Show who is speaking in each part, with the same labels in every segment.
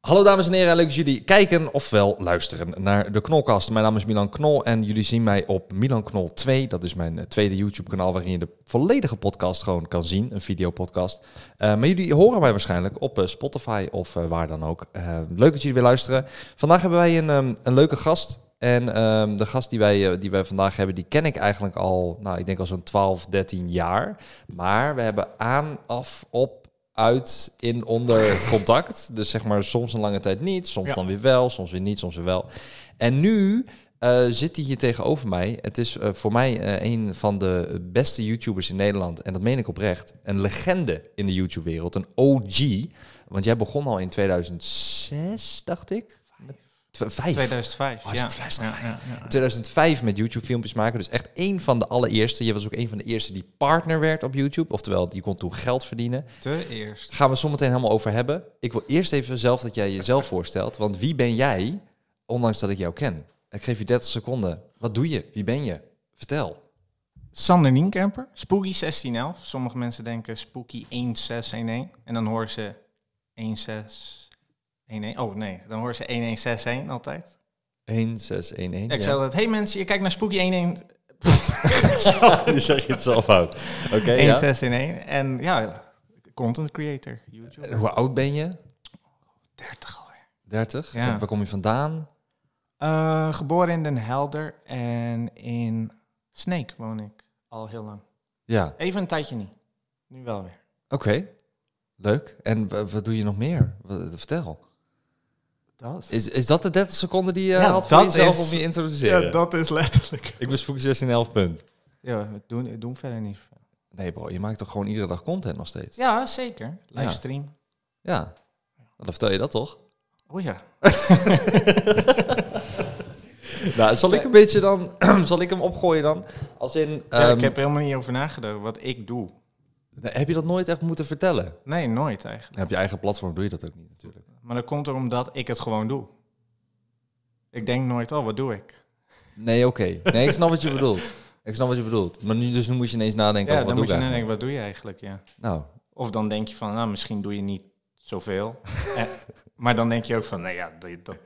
Speaker 1: Hallo dames en heren, leuk dat jullie kijken ofwel luisteren naar de Knolkast. Mijn naam is Milan Knol en jullie zien mij op Milan Knol 2. Dat is mijn eh, tweede YouTube kanaal waarin je de volledige podcast gewoon kan zien, een videopodcast. Eh, maar jullie horen mij waarschijnlijk op eh, Spotify of eh, waar dan ook. Eh, leuk dat jullie weer luisteren. Vandaag hebben wij een, ehm, een leuke gast. En ehm, de gast die wij, eh, die wij vandaag hebben, die ken ik eigenlijk al, nou ik denk al zo'n 12, 13 jaar. Maar we hebben aan, af, op, uit, in, onder contact. Dus zeg maar soms een lange tijd niet, soms
Speaker 2: Ja.
Speaker 1: dan weer wel, soms weer niet, soms weer wel. En nu eh, zit hij hier tegenover mij. Het is eh, voor mij eh, een van de beste YouTubers in Nederland. En dat meen ik oprecht. Een legende in de YouTube-wereld, een OG. Want jij begon al in 2006, dacht ik? Met tw- Vijf.
Speaker 2: 2005.
Speaker 1: Oh, is
Speaker 2: ja.
Speaker 1: het 2005?
Speaker 2: Ja, ja, ja.
Speaker 1: 2005 met YouTube filmpjes maken. Dus echt één van de allereerste. Je was ook een van de eerste die partner werd op YouTube. Oftewel, je kon toen geld verdienen.
Speaker 2: Te eerst.
Speaker 1: Gaan we zometeen helemaal over hebben. Ik wil eerst even zelf dat jij jezelf voorstelt. Want wie ben jij, ondanks dat ik jou ken? Ik geef je 30 seconden. Wat doe je? Wie ben je? Vertel.
Speaker 2: Sander Nienkerper, Spooky 1611. Sommige mensen denken Spooky 1611. En dan horen ze 1611. Oh nee, dan horen ze 1161 altijd.
Speaker 1: 1611.
Speaker 2: Ja, ik zei altijd, hey mensen, je kijkt naar Spooky 11
Speaker 1: nu zeg je het zelf fout. Oké, ja.
Speaker 2: 1611. En ja, content creator, YouTube.
Speaker 1: En Hoe oud ben je?
Speaker 2: 30 alweer.
Speaker 1: 30.
Speaker 2: Ja.
Speaker 1: En waar kom je vandaan?
Speaker 2: Eh, geboren in Den Helder en in Snake woon ik al heel lang.
Speaker 1: Ja,
Speaker 2: Even een tijdje niet. Nu wel weer.
Speaker 1: oké. Leuk. En wa- wat doe je nog meer? Wat- Vertel.
Speaker 2: Dat.
Speaker 1: Is, is dat de 30 seconden die je
Speaker 2: Ja,
Speaker 1: had voor
Speaker 2: dat
Speaker 1: jezelf
Speaker 2: is-
Speaker 1: om je introduceren?
Speaker 2: dat is letterlijk.
Speaker 1: Ik bespoek 16,5 punt.
Speaker 2: Ja, we doen, we doen verder niet veel.
Speaker 1: Nee bro, je maakt toch gewoon iedere dag content nog steeds? Ja.
Speaker 2: Ja, zeker. Livestream.
Speaker 1: Dan vertel je dat toch?
Speaker 2: Oh ja.
Speaker 1: Nou, zal ik een beetje dan... zal ik hem opgooien dan? Als in...
Speaker 2: ja.
Speaker 1: ehm,
Speaker 2: Ik heb er helemaal niet over nagedacht wat ik doe.
Speaker 1: Heb je dat nooit echt moeten vertellen? Nou,
Speaker 2: Nee, nooit eigenlijk.
Speaker 1: heb je eigen platform, doe je dat ook niet natuurlijk.
Speaker 2: Maar dat komt er omdat ik het gewoon doe. Ik denk nooit, oh, wat doe ik?
Speaker 1: Nee, oké. Nee, ik snap wat je bedoelt. Ik snap wat je bedoelt. Maar nu, dus nu moet je ineens nadenken
Speaker 2: ja,
Speaker 1: over
Speaker 2: dan
Speaker 1: wat
Speaker 2: moet
Speaker 1: doe
Speaker 2: je
Speaker 1: ik
Speaker 2: dan
Speaker 1: eigenlijk.
Speaker 2: denken, wat doe je eigenlijk? Ja.
Speaker 1: Nou,
Speaker 2: Of dan denk je van, nou, misschien doe je niet zoveel. Eh, maar dan denk je ook van, nee, ja, dat... dat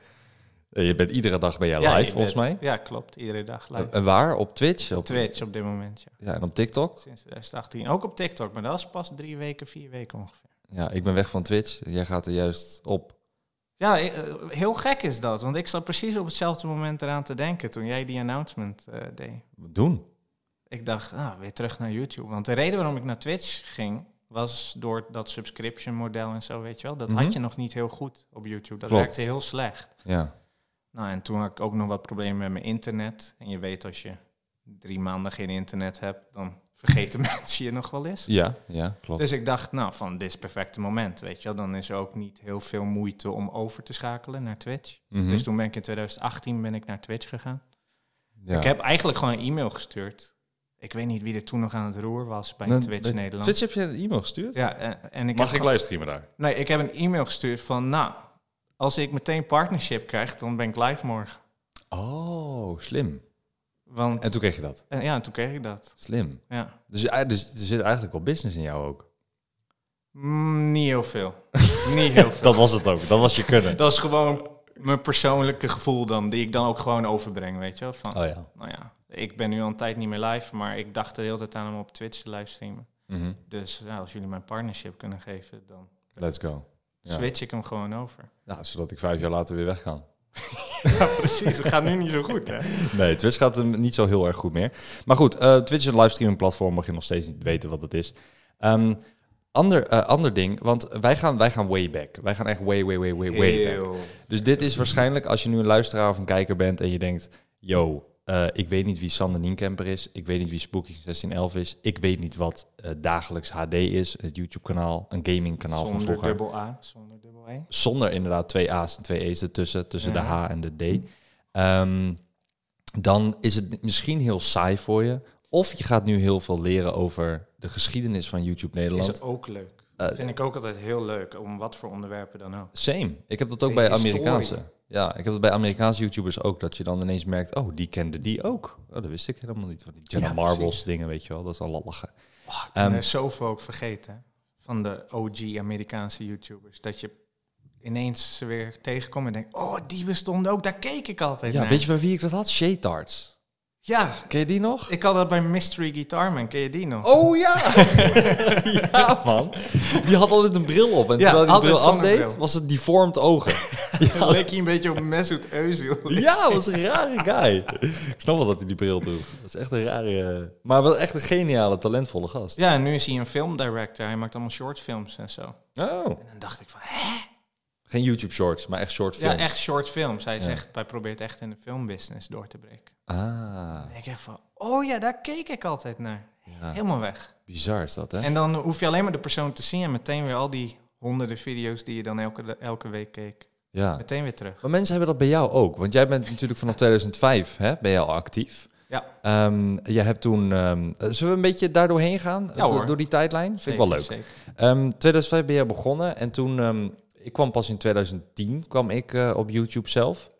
Speaker 1: eh, je bent iedere dag bij jij
Speaker 2: ja,
Speaker 1: live
Speaker 2: je
Speaker 1: volgens
Speaker 2: bent-
Speaker 1: mij. Eh,
Speaker 2: Ja, klopt. Iedere dag live.
Speaker 1: En waar? Op Twitch? Op
Speaker 2: Twitch op dit moment, ja.
Speaker 1: Ja, en op TikTok?
Speaker 2: Sinds 2018. Ook op TikTok, maar dat is pas drie weken, vier weken ongeveer.
Speaker 1: Ja, ik ben weg van Twitch. Jij gaat er juist op.
Speaker 2: Ja, eh, heel gek is dat. Want ik zat precies op hetzelfde moment eraan te denken toen jij die announcement eh, deed.
Speaker 1: Doen.
Speaker 2: Ik dacht, ah, weer terug naar YouTube. Want de reden waarom ik naar Twitch ging, was door dat subscription model en zo, weet je wel. Dat
Speaker 1: Mhm.
Speaker 2: had je nog niet heel goed op YouTube. Dat
Speaker 1: Klopt.
Speaker 2: werkte heel slecht.
Speaker 1: Ja.
Speaker 2: Nou, en toen had ik ook nog wat problemen met mijn internet. En je weet, als je drie maanden geen internet hebt, dan vergeten mensen je nog wel eens.
Speaker 1: Ja, ja, klopt.
Speaker 2: Dus ik dacht, nou, van dit is het perfecte moment, weet je wel. Dan is er ook niet heel veel moeite om over te schakelen naar Twitch.
Speaker 1: Mhm.
Speaker 2: Dus toen ben ik in 2018 ben ik naar Twitch gegaan.
Speaker 1: Ja.
Speaker 2: Ik heb eigenlijk gewoon een e-mail gestuurd. Ik weet niet wie er toen nog aan het roer was bij
Speaker 1: Nou,
Speaker 2: Twitch
Speaker 1: bij
Speaker 2: Nederland.
Speaker 1: Twitch heb je een e-mail gestuurd?
Speaker 2: Ja, en, en ik
Speaker 1: Mag
Speaker 2: heb
Speaker 1: ik
Speaker 2: gewoon-
Speaker 1: livestreamen daar?
Speaker 2: Nee, ik heb een e-mail gestuurd van, nou, als ik meteen partnership krijg, dan ben ik live morgen.
Speaker 1: Oh, slim.
Speaker 2: Want,
Speaker 1: En toen kreeg je dat.
Speaker 2: en ja, en toen kreeg ik dat.
Speaker 1: Slim.
Speaker 2: Ja.
Speaker 1: Dus, eh, dus er zit eigenlijk wel business in jou ook.
Speaker 2: Mm, niet heel veel. niet heel veel.
Speaker 1: was het ook. Dat was je kunnen.
Speaker 2: Dat is gewoon mijn persoonlijke gevoel dan, die ik dan ook gewoon overbreng, weet je wel. Van,
Speaker 1: Oh ja.
Speaker 2: Nou ja, ik ben nu al een tijd niet meer live, maar ik dacht de hele tijd aan om op Twitch te livestreamen.
Speaker 1: Mhm.
Speaker 2: Dus ja, als jullie mijn partnership kunnen geven, dan
Speaker 1: Let's go. Ja.
Speaker 2: switch ik hem gewoon over.
Speaker 1: Nou, zodat ik vijf jaar later weer weg kan.
Speaker 2: Ja, precies. Het gaat nu niet zo goed, hè?
Speaker 1: Nee, Twitch gaat hem niet zo heel erg goed meer. Maar goed, eh, Twitch is een livestreaming platform, mag je nog steeds niet weten wat het is. Ehm, ander, eh, ander ding, want wij gaan, wij gaan way back. Wij gaan echt way, way, way, way, way back.
Speaker 2: Heel.
Speaker 1: Dus dit is waarschijnlijk als je nu een luisteraar of een kijker bent en je denkt: yo, eh, ik weet niet wie Sander Nienkamper is. Ik weet niet wie Spooky 1611 is. Ik weet niet wat eh, dagelijks HD is. Het YouTube-kanaal, een gaming-kanaal van
Speaker 2: Zonder
Speaker 1: vroeger.
Speaker 2: dubbel A, zonder dubbel E.
Speaker 1: Zonder inderdaad twee A's en twee E's ertussen, tussen
Speaker 2: Ja.
Speaker 1: de H en de D. Ehm, dan is het misschien heel saai voor je. Of je gaat nu heel veel leren over de geschiedenis van YouTube
Speaker 2: Is
Speaker 1: Nederland.
Speaker 2: het ook leuk.
Speaker 1: Eh,
Speaker 2: Vind ik ook altijd heel leuk, om wat voor onderwerpen dan ook.
Speaker 1: Same. Ik heb dat ook
Speaker 2: De
Speaker 1: bij
Speaker 2: historie.
Speaker 1: Amerikaanse. Ja, ik heb dat bij Amerikaanse YouTubers ook. Dat je dan ineens merkt, oh, die kende die ook. Oh, dat wist ik helemaal niet. Van die Jenna
Speaker 2: Ja,
Speaker 1: Marbles
Speaker 2: precies.
Speaker 1: dingen, weet je wel. Dat is al lachen.
Speaker 2: En
Speaker 1: Ehm,
Speaker 2: er is zoveel ook vergeten hè, van de OG Amerikaanse YouTubers. Dat je ineens ze weer tegenkomt en denkt, oh, die bestonden ook, daar keek ik altijd
Speaker 1: ja,
Speaker 2: naar.
Speaker 1: weet je bij wie ik dat had? Shaytards.
Speaker 2: Ja,
Speaker 1: Ken je die nog?
Speaker 2: ik had dat bij Mystery Guitar Man, ken je die nog?
Speaker 1: Oh ja! ja, man. Die had altijd een bril op. En
Speaker 2: Ja,
Speaker 1: terwijl hij die
Speaker 2: altijd
Speaker 1: bril
Speaker 2: zonder
Speaker 1: afdeed,
Speaker 2: bril.
Speaker 1: was het deformed ogen.
Speaker 2: Dan leek hij een beetje op Mesut Özil.
Speaker 1: ja, was een rare guy. Ik snap wel dat hij die bril droeg. Dat is echt een rare... Maar wel echt een geniale, talentvolle gast.
Speaker 2: Ja, en nu is hij een filmdirector. Hij maakt allemaal shortfilms en zo.
Speaker 1: Oh.
Speaker 2: En dan dacht ik van, hè?
Speaker 1: Geen YouTube shorts, maar echt short films.
Speaker 2: Ja, echt shortfilms. Hij
Speaker 1: Ja.
Speaker 2: zegt, hij probeert echt in de filmbusiness door te breken.
Speaker 1: Ah,
Speaker 2: Dan denk ik echt van, oh ja, daar keek ik altijd naar.
Speaker 1: ja.
Speaker 2: Helemaal weg.
Speaker 1: bizar is dat, hè?
Speaker 2: En dan hoef je alleen maar de persoon te zien en meteen weer al die honderden video's die je dan elke, elke week keek.
Speaker 1: Ja.
Speaker 2: Meteen weer terug.
Speaker 1: Maar mensen hebben dat bij jou ook. Want jij bent natuurlijk vanaf 2005 hè, ben jij al actief.
Speaker 2: Ja.
Speaker 1: Ehm, jij hebt toen... ehm, eh, zullen we een beetje daar doorheen gaan?
Speaker 2: Ja,
Speaker 1: Door-
Speaker 2: hoor.
Speaker 1: Door die tijdlijn? Vind ik wel leuk.
Speaker 2: Zeker,
Speaker 1: Ehm 2005 ben jij begonnen en toen... ehm, ik kwam pas in 2010 kwam ik, eh, op YouTube zelf.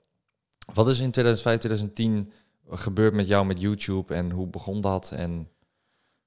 Speaker 1: Wat is in 2005, 2010 gebeurd met jou met YouTube en hoe begon dat? En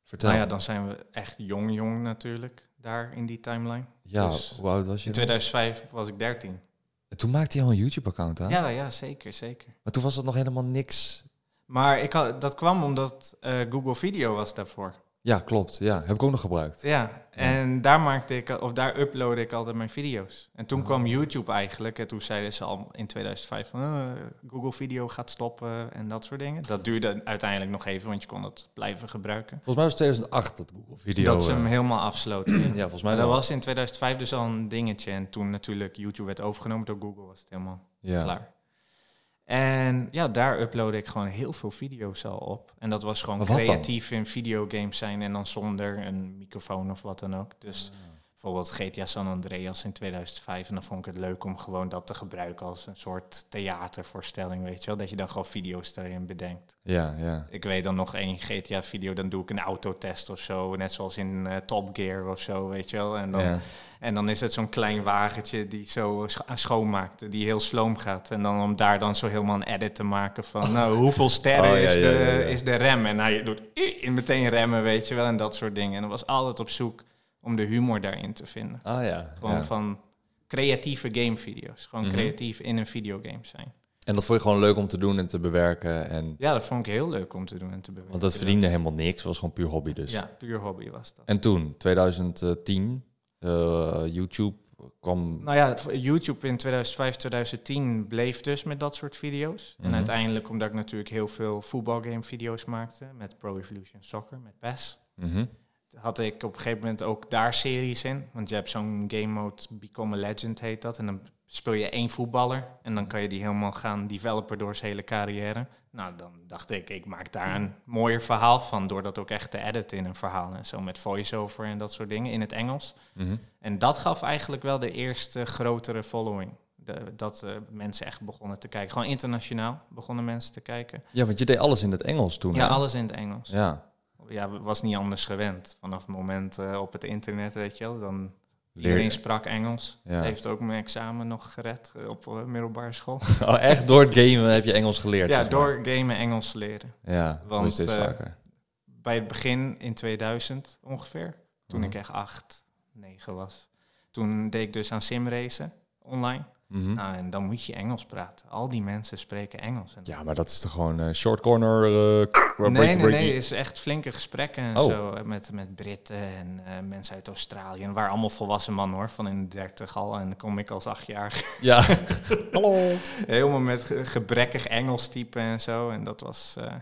Speaker 1: vertel.
Speaker 2: Nou ja, dan zijn we echt jong jong natuurlijk, daar in die timeline.
Speaker 1: Ja,
Speaker 2: dus-
Speaker 1: hoe oud was je?
Speaker 2: In
Speaker 1: dan?
Speaker 2: 2005 was ik 13.
Speaker 1: En Toen maakte hij al een YouTube-account aan.
Speaker 2: Ja, ja, zeker, zeker.
Speaker 1: Maar toen was dat nog helemaal niks.
Speaker 2: Maar ik had, dat kwam omdat eh, Google Video was daarvoor.
Speaker 1: Ja, klopt. Ja, heb ik ook nog gebruikt.
Speaker 2: Ja, en daar maakte ik, of daar uploadde ik altijd mijn video's. En toen
Speaker 1: Oh.
Speaker 2: kwam YouTube eigenlijk, en toen zeiden ze al in 2005 van eh, Google Video gaat stoppen en dat soort dingen. Dat duurde uiteindelijk nog even, want je kon dat blijven gebruiken.
Speaker 1: Volgens mij was het 2008 dat Google Video.
Speaker 2: dat ze
Speaker 1: eh,
Speaker 2: hem helemaal afsloten.
Speaker 1: ja, volgens mij
Speaker 2: maar dat
Speaker 1: wel.
Speaker 2: was in 2005 dus al een dingetje. En toen natuurlijk YouTube werd overgenomen door Google, was het helemaal
Speaker 1: ja.
Speaker 2: klaar. En ja, daar uploadde ik gewoon heel veel video's al op. En dat was gewoon
Speaker 1: Maar wat dan?
Speaker 2: creatief in videogames zijn en dan zonder een microfoon of wat dan ook. Dus
Speaker 1: Ah.
Speaker 2: bijvoorbeeld GTA San Andreas in 2005. En dan vond ik het leuk om gewoon dat te gebruiken als een soort theatervoorstelling, weet je wel. Dat je dan gewoon video's daarin bedenkt.
Speaker 1: Ja, ja.
Speaker 2: Ik weet dan nog één GTA-video, dan doe ik een autotest of zo. Net zoals in eh, Top Gear of zo, weet je wel. En dan,
Speaker 1: ja.
Speaker 2: en dan is het zo'n klein wagentje die zo scho- ah, schoonmaakt, die heel sloom gaat. En dan om daar dan zo helemaal een edit te maken van, nou, hoeveel sterren
Speaker 1: Oh, ja,
Speaker 2: is,
Speaker 1: ja,
Speaker 2: de,
Speaker 1: ja, ja.
Speaker 2: is de rem? En hij doet i- en meteen remmen, weet je wel, en dat soort dingen. En dat was altijd op zoek om de humor daarin te vinden.
Speaker 1: Ah ja.
Speaker 2: Gewoon
Speaker 1: ja.
Speaker 2: van creatieve gamevideo's. Gewoon
Speaker 1: Mhm.
Speaker 2: creatief in een videogame zijn.
Speaker 1: En dat vond je gewoon leuk om te doen en te bewerken. En,
Speaker 2: Ja, dat vond ik heel leuk om te doen en te bewerken.
Speaker 1: want dat verdiende helemaal niks. Het was gewoon puur hobby dus.
Speaker 2: Ja, puur hobby was dat.
Speaker 1: En toen, 2010, eh, YouTube kwam...
Speaker 2: Nou ja, v- YouTube in 2005, 2010 bleef dus met dat soort video's.
Speaker 1: Mhm.
Speaker 2: En uiteindelijk, omdat ik natuurlijk heel veel voetbalgame-video's maakte met Pro Evolution Soccer, met PES,
Speaker 1: Mhm.
Speaker 2: had ik op een gegeven moment ook daar series in. Want je hebt zo'n game mode, Become a Legend heet dat. En dan speel je één voetballer en dan kan je die helemaal gaan developen door zijn hele carrière. Nou, dan dacht ik, ik maak daar een mooier verhaal van door dat ook echt te editen in een verhaal. En zo met voice-over en dat soort dingen in het Engels.
Speaker 1: Mhm.
Speaker 2: En dat gaf eigenlijk wel de eerste grotere following. De- dat eh, mensen echt begonnen te kijken. Gewoon internationaal begonnen mensen te kijken.
Speaker 1: Ja, want je deed alles in het Engels toen.
Speaker 2: Ja,
Speaker 1: hè?
Speaker 2: alles in het Engels. Ja,
Speaker 1: Ja.
Speaker 2: we- was niet anders gewend. Vanaf het moment eh, op het internet, weet je wel. Dan
Speaker 1: Leer-
Speaker 2: iedereen sprak Engels.
Speaker 1: Ja.
Speaker 2: Heeft ook mijn examen nog gered eh, op eh, middelbare school.
Speaker 1: Oh, echt door het gamen heb je Engels geleerd.
Speaker 2: ja,
Speaker 1: zeg maar.
Speaker 2: door gamen Engels te leren.
Speaker 1: Ja, dat
Speaker 2: Want,
Speaker 1: is steeds
Speaker 2: eh,
Speaker 1: vaker.
Speaker 2: bij het begin in 2000 ongeveer, toen
Speaker 1: Mhm.
Speaker 2: ik echt acht, negen was. Toen deed ik dus aan simracen online.
Speaker 1: Mhm.
Speaker 2: Nou, en dan moet je Engels praten. Al die mensen spreken Engels. En
Speaker 1: Ja, maar dat is toch gewoon eh, short corner. eh, k-
Speaker 2: nee,
Speaker 1: breaky,
Speaker 2: nee,
Speaker 1: breaky.
Speaker 2: nee. Het is echt flinke gesprekken en
Speaker 1: Oh.
Speaker 2: zo. eh, Met, met Britten en eh, mensen uit Australië. En waar allemaal volwassen man hoor, van in de dertig al. En dan kom ik als achtjarige.
Speaker 1: Ja. Hallo.
Speaker 2: Helemaal met ge- gebrekkig Engels type en zo. En dat was eh,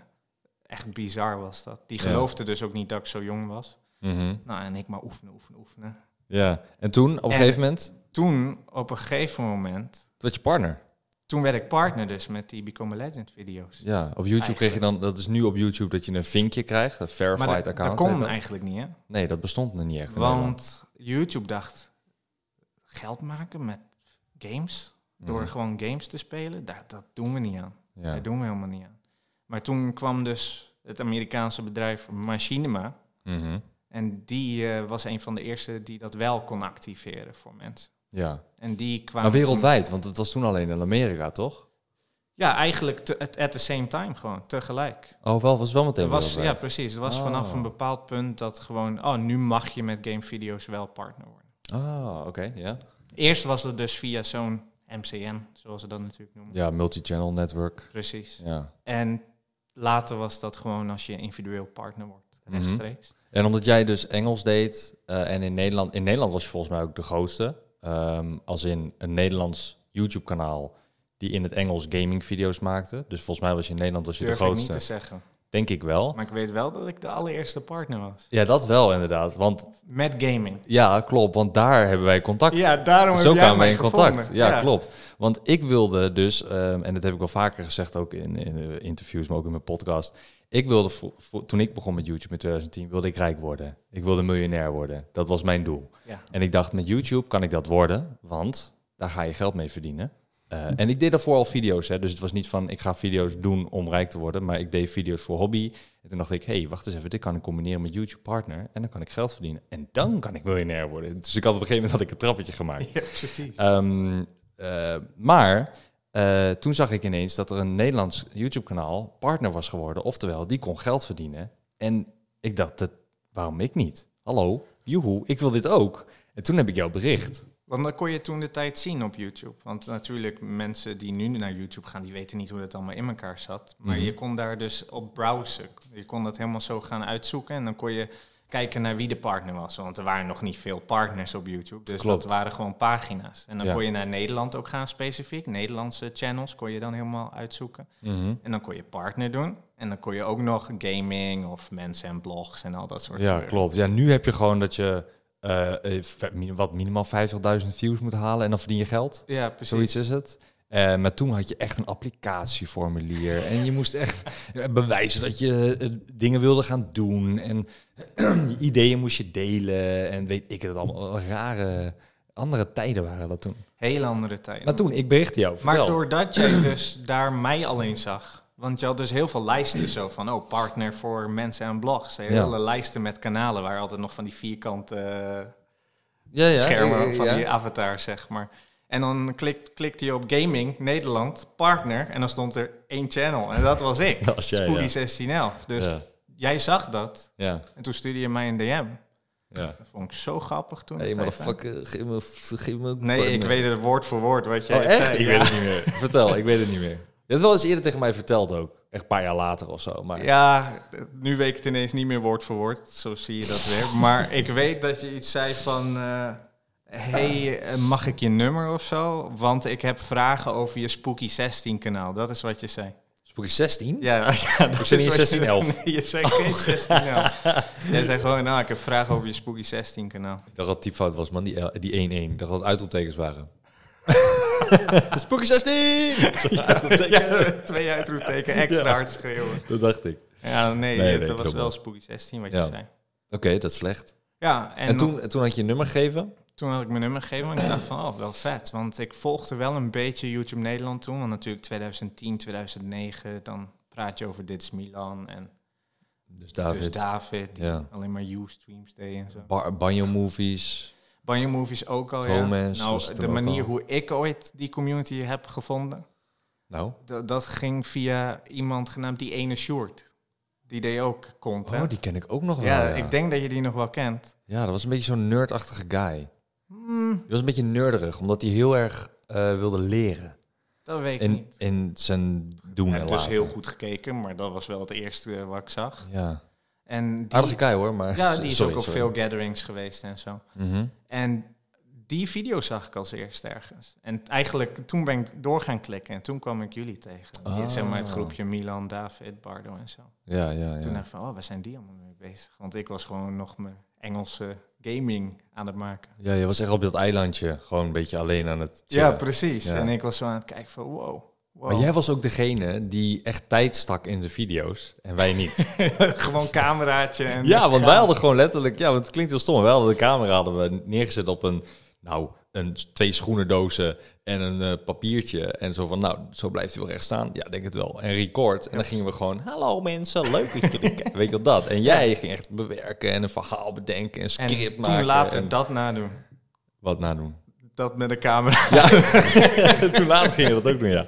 Speaker 2: echt bizar was dat. Die
Speaker 1: Ja.
Speaker 2: geloofden dus ook niet dat ik zo jong was.
Speaker 1: Mhm.
Speaker 2: Nou, en ik maar oefenen, oefenen, oefenen.
Speaker 1: Ja. En toen, op een
Speaker 2: En-
Speaker 1: gegeven moment,
Speaker 2: Toen, op een gegeven moment...
Speaker 1: dat je partner.
Speaker 2: Toen werd ik partner dus met die Become a Legend video's.
Speaker 1: Ja, op YouTube kreeg je dan, dat is nu op YouTube dat je een vinkje krijgt, een verified
Speaker 2: maar dat, dat
Speaker 1: account.
Speaker 2: kon
Speaker 1: heet dat.
Speaker 2: eigenlijk niet, hè?
Speaker 1: Nee, dat bestond nog niet echt. in Nederland.
Speaker 2: Want YouTube dacht, geld maken met games, door
Speaker 1: Mhm.
Speaker 2: gewoon games te spelen, dat, dat doen we niet aan.
Speaker 1: Ja.
Speaker 2: Dat doen we helemaal niet aan. Maar toen kwam dus het Amerikaanse bedrijf Machinima.
Speaker 1: Mhm.
Speaker 2: En die eh, was een van de eerste die dat wel kon activeren voor mensen.
Speaker 1: Ja.
Speaker 2: En die kwamen
Speaker 1: Maar
Speaker 2: toen-
Speaker 1: wereldwijd, want het was toen alleen in Amerika, toch?
Speaker 2: ja, eigenlijk te- at, at the same time gewoon, tegelijk.
Speaker 1: Oh, wel, was wel meteen
Speaker 2: Er was, ja,
Speaker 1: wereldwijd.
Speaker 2: precies. Er was
Speaker 1: Oh.
Speaker 2: vanaf een bepaald punt dat gewoon... Oh, nu mag je met gamevideo's wel partner worden.
Speaker 1: Ah, oké, ja.
Speaker 2: Eerst was dat dus via zo'n MCN, zoals ze dat natuurlijk noemen.
Speaker 1: Ja, multi-channel network.
Speaker 2: Precies.
Speaker 1: Ja.
Speaker 2: En later was dat gewoon als je individueel partner wordt,
Speaker 1: Mhm.
Speaker 2: rechtstreeks.
Speaker 1: En omdat jij dus Engels deed eh, en in Nederland, in Nederland was je volgens mij ook de grootste, ehm, als in een Nederlands YouTube-kanaal die in het Engels gaming-video's maakte. Dus volgens mij was je in Nederland was je
Speaker 2: Durf
Speaker 1: de
Speaker 2: ik niet
Speaker 1: grootste.
Speaker 2: te zeggen.
Speaker 1: Denk ik wel.
Speaker 2: Maar ik weet wel dat ik de allereerste partner was.
Speaker 1: Ja, dat wel inderdaad. Want
Speaker 2: Met gaming.
Speaker 1: ja, klopt. Want daar hebben wij contact.
Speaker 2: Ja, daarom
Speaker 1: Zo
Speaker 2: heb jij
Speaker 1: kwamen wij
Speaker 2: mij
Speaker 1: in contact.
Speaker 2: gevonden.
Speaker 1: Ja, klopt. Want ik wilde dus, ehm, en dat heb ik wel vaker gezegd ook in, in eh, interviews, maar ook in mijn podcast. Ik wilde, vo- vo- toen ik begon met YouTube in 2010, wilde ik rijk worden. Ik wilde miljonair worden. Dat was mijn doel.
Speaker 2: Ja.
Speaker 1: En ik dacht, met YouTube kan ik dat worden, want daar ga je geld mee verdienen. Eh, en ik deed daarvoor al video's, hè, dus het was niet van ik ga video's doen om rijk te worden, maar ik deed video's voor hobby. En toen dacht ik, hé, hey, wacht eens even, dit kan ik combineren met YouTube Partner en dan kan ik geld verdienen en dan kan ik miljonair worden. Dus ik had op een gegeven moment had ik een trappetje gemaakt.
Speaker 2: Ja, precies.
Speaker 1: Ehm, eh, maar eh, toen zag ik ineens dat er een Nederlands YouTube-kanaal partner was geworden. Oftewel, die kon geld verdienen. En ik dacht, dat, waarom ik niet? Hallo, joehoe, ik wil dit ook. En toen heb ik jou bericht.
Speaker 2: Want dat kon je toen de tijd zien op YouTube. Want natuurlijk, mensen die nu naar YouTube gaan, die weten niet hoe dat allemaal in elkaar zat. Maar
Speaker 1: Mhm.
Speaker 2: je kon daar dus op browsen. Je kon dat helemaal zo gaan uitzoeken. En dan kon je kijken naar wie de partner was. Want er waren nog niet veel partners op YouTube. Dus
Speaker 1: Klopt.
Speaker 2: dat waren gewoon pagina's. En dan
Speaker 1: Ja.
Speaker 2: kon je naar Nederland ook gaan specifiek. Nederlandse channels kon je dan helemaal uitzoeken.
Speaker 1: Mhm.
Speaker 2: En dan kon je partner doen. En dan kon je ook nog gaming of mensen en blogs en al dat soort
Speaker 1: Ja,
Speaker 2: gebeuren.
Speaker 1: klopt. Ja, nu heb je gewoon dat je eh, eh, v- min- wat minimaal 50.000 views moet halen en dan verdien je geld.
Speaker 2: Ja, precies.
Speaker 1: Zoiets is het. Eh, maar toen had je echt een applicatieformulier. en je moest echt bewijzen dat je eh, dingen wilde gaan doen. En je ideeën moest je delen. En weet ik het allemaal. Rare, andere tijden waren dat toen.
Speaker 2: Hele andere tijden.
Speaker 1: Maar toen, ik berichtte jou.
Speaker 2: Maar
Speaker 1: vertel.
Speaker 2: doordat jij dus daar mij alleen zag. Want je had dus heel veel lijsten zo van, oh, partner voor mensen en blogs. Hele lijsten met kanalen waar altijd nog van die vierkante eh,
Speaker 1: ja, ja,
Speaker 2: schermen
Speaker 1: ja, ja,
Speaker 2: van
Speaker 1: ja.
Speaker 2: die avatar, zeg maar. En dan klik, klikte je op gaming, Nederland, partner. En dan stond er één channel. En dat was ik.
Speaker 1: Dat was jij,
Speaker 2: Spooky
Speaker 1: ja.
Speaker 2: 1611. Dus
Speaker 1: Ja.
Speaker 2: jij zag dat.
Speaker 1: Ja,
Speaker 2: En toen stuurde je mij een DM.
Speaker 1: ja.
Speaker 2: Dat vond ik zo grappig toen.
Speaker 1: Hey,
Speaker 2: de tijd
Speaker 1: motherfucker, geef me, geef me ook
Speaker 2: aan. Nee, ik
Speaker 1: partner.
Speaker 2: weet het woord voor woord wat jij
Speaker 1: Oh, echt?
Speaker 2: zei.
Speaker 1: Ik
Speaker 2: Ja.
Speaker 1: weet het niet meer. Vertel, ik weet het niet meer. Je hebt wel eens eerder tegen mij verteld ook. Echt een paar jaar later of zo. Maar
Speaker 2: Ja, nu weet ik het ineens niet meer woord voor woord. Zo zie je dat weer. Maar ik weet dat je iets zei van... eh, hey, eh, mag ik je nummer of zo? Want ik heb vragen over je Spooky 16 kanaal. Dat is wat je zei.
Speaker 1: Spooky 16?
Speaker 2: Ja, ja dat
Speaker 1: Ik zei niet Oh.
Speaker 2: is wat je-
Speaker 1: 1611.
Speaker 2: Nee, je zei geen 1611. Jij zei gewoon, nou, ik heb vragen over je Spooky 16 kanaal.
Speaker 1: Ik dacht dat het typfout was, man. Die L- die 1-1. Ik dacht dat het uitroeptekens waren. Spooky 16!
Speaker 2: Ja, twee uitroepteken, extra hard schreeuwen.
Speaker 1: Dat dacht ik. Oké,
Speaker 2: Ja, nee,
Speaker 1: Nee, nee,
Speaker 2: dat was
Speaker 1: klopt.
Speaker 2: wel Spooky 16 wat
Speaker 1: Ja.
Speaker 2: je zei.
Speaker 1: dat is slecht.
Speaker 2: Ja, en,
Speaker 1: En, toen, en toen had je een nummer gegeven?
Speaker 2: Toen had ik mijn nummer gegeven en ik dacht van, oh, wel vet. Want ik volgde wel een beetje YouTube Nederland toen. Want natuurlijk 2010, 2009, dan praat je over Dit is Milan en
Speaker 1: Dus David.
Speaker 2: dus David. Die
Speaker 1: Ja.
Speaker 2: alleen maar U-streams deed en zo.
Speaker 1: Bar- Banjo Movies.
Speaker 2: Banjo Movies ook al,
Speaker 1: Thomas
Speaker 2: ja.
Speaker 1: was toen
Speaker 2: Nou, de
Speaker 1: ook
Speaker 2: manier
Speaker 1: al.
Speaker 2: hoe ik ooit die community heb gevonden,
Speaker 1: Nou,
Speaker 2: dat, dat ging via iemand genaamd die ene Sjoerd. Die deed ook content.
Speaker 1: oh, die ken ik ook nog wel.
Speaker 2: ja, ik denk dat je die nog wel kent.
Speaker 1: Ja, dat was een beetje zo'n nerdachtige guy.
Speaker 2: Hmm,
Speaker 1: Die was een beetje nerderig, omdat hij heel erg eh, wilde leren.
Speaker 2: dat weet ik
Speaker 1: In,
Speaker 2: niet.
Speaker 1: in zijn doen
Speaker 2: Ik
Speaker 1: en
Speaker 2: heb dus
Speaker 1: laten.
Speaker 2: heel goed gekeken, maar dat was wel het eerste eh, wat ik zag.
Speaker 1: Ja.
Speaker 2: En die,
Speaker 1: Aardige guy hoor, maar...
Speaker 2: ja, die is
Speaker 1: Sorry,
Speaker 2: ook op
Speaker 1: sorry.
Speaker 2: veel gatherings geweest en zo.
Speaker 1: Mhm.
Speaker 2: En die video zag ik als eerst ergens. En eigenlijk toen ben ik door gaan klikken en toen kwam ik jullie tegen. Die-
Speaker 1: Ah.
Speaker 2: Zeg maar het groepje Milan, David, Bardo en zo.
Speaker 1: Ja, ja,
Speaker 2: Toen
Speaker 1: ja.
Speaker 2: dacht ik van, oh, waar zijn die allemaal mee bezig? Want ik was gewoon nog mijn Engelse gaming aan het maken.
Speaker 1: Ja, je was echt op dat eilandje. Gewoon een beetje alleen aan het
Speaker 2: Ja,
Speaker 1: chillen.
Speaker 2: precies.
Speaker 1: Ja.
Speaker 2: En ik was zo aan het kijken van, wow. wow.
Speaker 1: Maar jij was ook degene die echt tijd stak in de video's en wij niet.
Speaker 2: gewoon cameraatje. En
Speaker 1: ja, want wij hadden gewoon letterlijk, ja, want het klinkt heel stom, maar wij hadden de camera hadden we neergezet op een, nou, een, twee schoenendozen en een eh, papiertje. En zo van, nou, zo blijft hij wel recht staan. Ja, denk het wel. En record. En dan gingen we gewoon, hallo mensen, leuk dat jullie kijken. Weet je wel dat? En jij ging echt bewerken en een verhaal bedenken en
Speaker 2: En
Speaker 1: script
Speaker 2: toen
Speaker 1: maken.
Speaker 2: later
Speaker 1: en
Speaker 2: dat nadoen.
Speaker 1: Wat nadoen.
Speaker 2: Dat met een camera.
Speaker 1: Ja, toen later gingen we dat ook doen, ja.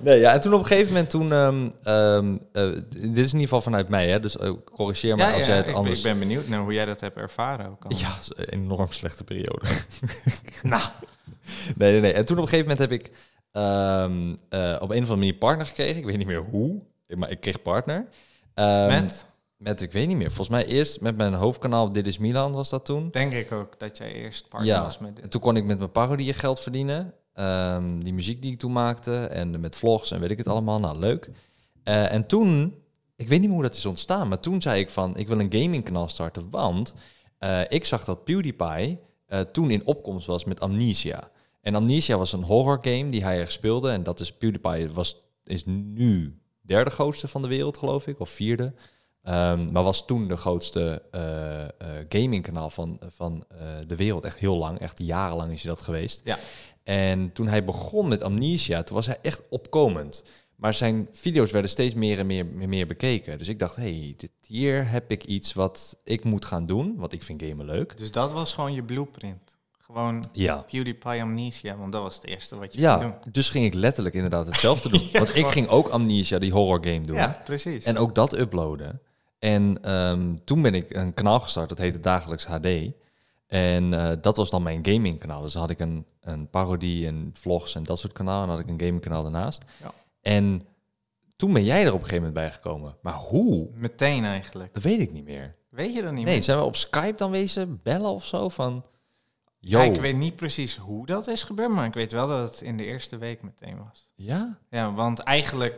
Speaker 1: Nee, ja. En toen op een gegeven moment, toen... ehm, ehm, eh, dit is in ieder geval vanuit mij, hè. Dus eh, corrigeer mij
Speaker 2: Ja,
Speaker 1: als
Speaker 2: ja,
Speaker 1: jij het
Speaker 2: ik,
Speaker 1: anders...
Speaker 2: ik ben benieuwd naar hoe jij dat hebt ervaren. Ook al.
Speaker 1: Ja, dat is een enorm slechte periode. nou. Nee, nee, nee. En toen op een gegeven moment heb ik ehm, eh, op een of andere manier partner gekregen. Ik weet niet meer hoe, maar ik kreeg partner. Ehm,
Speaker 2: Met,
Speaker 1: Met, ik weet niet meer. Volgens mij eerst met mijn hoofdkanaal Dit is Milan was dat toen.
Speaker 2: denk ik ook, dat jij eerst partner
Speaker 1: Ja.
Speaker 2: was met dit.
Speaker 1: En toen kon ik met mijn parodieën geld verdienen. Ehm, die muziek die ik toen maakte en met vlogs en weet ik het allemaal. Nou, leuk. Eh, en toen, ik weet niet meer hoe dat is ontstaan, maar toen zei ik van, ik wil een gamingkanaal starten, want eh, ik zag dat PewDiePie eh, toen in opkomst was met Amnesia. En Amnesia was een horror game die hij erg speelde en dat is PewDiePie was, is nu derde grootste van de wereld, geloof ik, of vierde. Ehm, maar was toen de grootste eh, eh, gamingkanaal van, van eh, de wereld. Echt heel lang, echt jarenlang is hij dat geweest.
Speaker 2: Ja.
Speaker 1: En toen hij begon met Amnesia, toen was hij echt opkomend. Maar zijn video's werden steeds meer en meer, meer, meer bekeken. Dus ik dacht, hey, dit, hier heb ik iets wat ik moet gaan doen. Want ik vind gamen leuk.
Speaker 2: Dus dat was gewoon je blueprint. Gewoon
Speaker 1: Ja.
Speaker 2: PewDiePie amnesia, want dat was het eerste wat je ja.
Speaker 1: Ja,
Speaker 2: doen.
Speaker 1: dus ging ik letterlijk inderdaad hetzelfde doen. Want ik
Speaker 2: gewoon.
Speaker 1: ging ook Amnesia, die horror game, doen.
Speaker 2: Ja, precies.
Speaker 1: En ook dat uploaden. En ehm, toen ben ik een kanaal gestart, dat heette Dagelijks HD. En eh, dat was dan mijn gamingkanaal. Dus dan had ik een, een parodie en vlogs en dat soort kanaal. En dan had ik een gamingkanaal daarnaast.
Speaker 2: Ja.
Speaker 1: En toen ben jij er op een gegeven moment bij gekomen. Maar hoe?
Speaker 2: Meteen eigenlijk.
Speaker 1: Dat weet ik niet meer.
Speaker 2: Weet je dat niet
Speaker 1: Nee,
Speaker 2: meer?
Speaker 1: zijn we op Skype dan wezen bellen of zo? Van, yo.
Speaker 2: Ja, ik weet niet precies hoe dat is gebeurd, maar ik weet wel dat het in de eerste week meteen was.
Speaker 1: Ja?
Speaker 2: Ja, want eigenlijk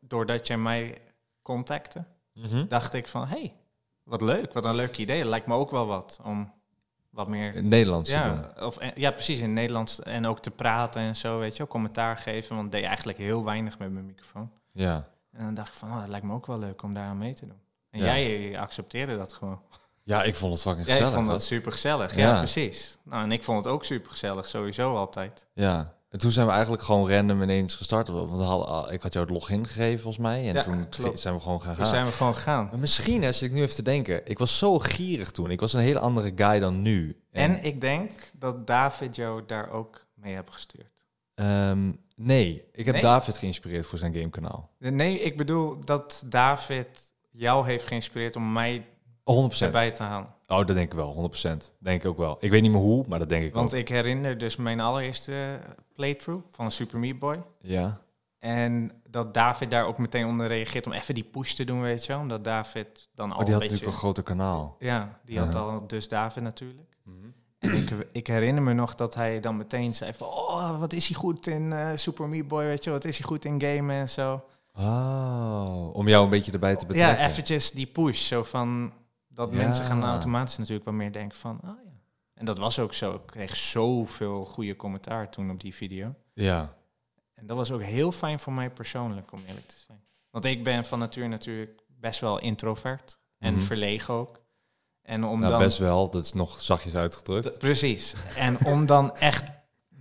Speaker 2: doordat jij mij contactte,
Speaker 1: Mhm.
Speaker 2: dacht ik van... hé, hey, wat leuk, wat een leuk idee. Lijkt me ook wel wat om wat meer...
Speaker 1: Nederlands te doen.
Speaker 2: Ja, of, eh, ja, precies, in het Nederlands en ook te praten en zo, weet je wel. Commentaar geven, want ik deed eigenlijk heel weinig met mijn microfoon.
Speaker 1: Ja.
Speaker 2: En dan dacht ik van, oh, dat lijkt me ook wel leuk om daaraan mee te doen. En
Speaker 1: Ja.
Speaker 2: jij eh, accepteerde dat gewoon.
Speaker 1: ja, ik vond het fucking
Speaker 2: Ja, ik
Speaker 1: gezellig.
Speaker 2: vond
Speaker 1: hoor.
Speaker 2: dat super gezellig. Ja,
Speaker 1: Ja.
Speaker 2: precies. Nou, en ik vond het ook super gezellig, sowieso altijd.
Speaker 1: Ja, en toen zijn we eigenlijk gewoon random ineens gestart. Want we hadden, al- ik had jou het login gegeven volgens mij. En
Speaker 2: Ja,
Speaker 1: toen
Speaker 2: klopt.
Speaker 1: ge- zijn we gewoon gaan
Speaker 2: Toen
Speaker 1: gaan.
Speaker 2: Dus zijn we gewoon gegaan.
Speaker 1: Maar misschien, hè, zit ik nu even te denken. Ik was zo gierig toen. Ik was een hele andere guy dan nu.
Speaker 2: En ik denk dat David jou daar ook mee hebt gestuurd.
Speaker 1: ehm, nee, ik heb
Speaker 2: Nee?
Speaker 1: David geïnspireerd voor zijn gamekanaal.
Speaker 2: Nee, ik bedoel dat David jou heeft geïnspireerd om mij
Speaker 1: 100%.
Speaker 2: erbij te halen.
Speaker 1: Oh, dat denk ik wel. 100%. Denk ik ook wel. Ik weet niet meer hoe, maar dat denk ik
Speaker 2: Want
Speaker 1: wel.
Speaker 2: ik herinner dus mijn allereerste eh, playthrough van Super Meat Boy.
Speaker 1: Ja. Oh,
Speaker 2: En dat David daar ook meteen onder reageert om even die push te doen, weet je wel. Omdat David dan
Speaker 1: Oh,
Speaker 2: al
Speaker 1: die had
Speaker 2: een beetje...
Speaker 1: natuurlijk een groter kanaal.
Speaker 2: Ja, die had
Speaker 1: Ja.
Speaker 2: al dus David natuurlijk. En ik, ik herinner me nog dat hij dan meteen zei van... Oh, wat is hij goed in eh, Super Meat Boy, weet je wel. Wat is hij goed in gamen en zo.
Speaker 1: Oh, om jou een beetje erbij te betrekken.
Speaker 2: Ja, eventjes die push. Zo van dat
Speaker 1: Ja.
Speaker 2: mensen gaan automatisch natuurlijk wel meer denken van, ah ja. En dat was ook zo. Ik kreeg zoveel goede commentaar toen op die video.
Speaker 1: Ja.
Speaker 2: En dat was ook heel fijn voor mij persoonlijk, om eerlijk te zijn. Want ik ben van natuur natuurlijk best wel introvert en
Speaker 1: Mhm.
Speaker 2: verlegen ook. En om
Speaker 1: Nou,
Speaker 2: dan...
Speaker 1: best wel. Dat is nog zachtjes uitgedrukt.
Speaker 2: Precies. En om dan echt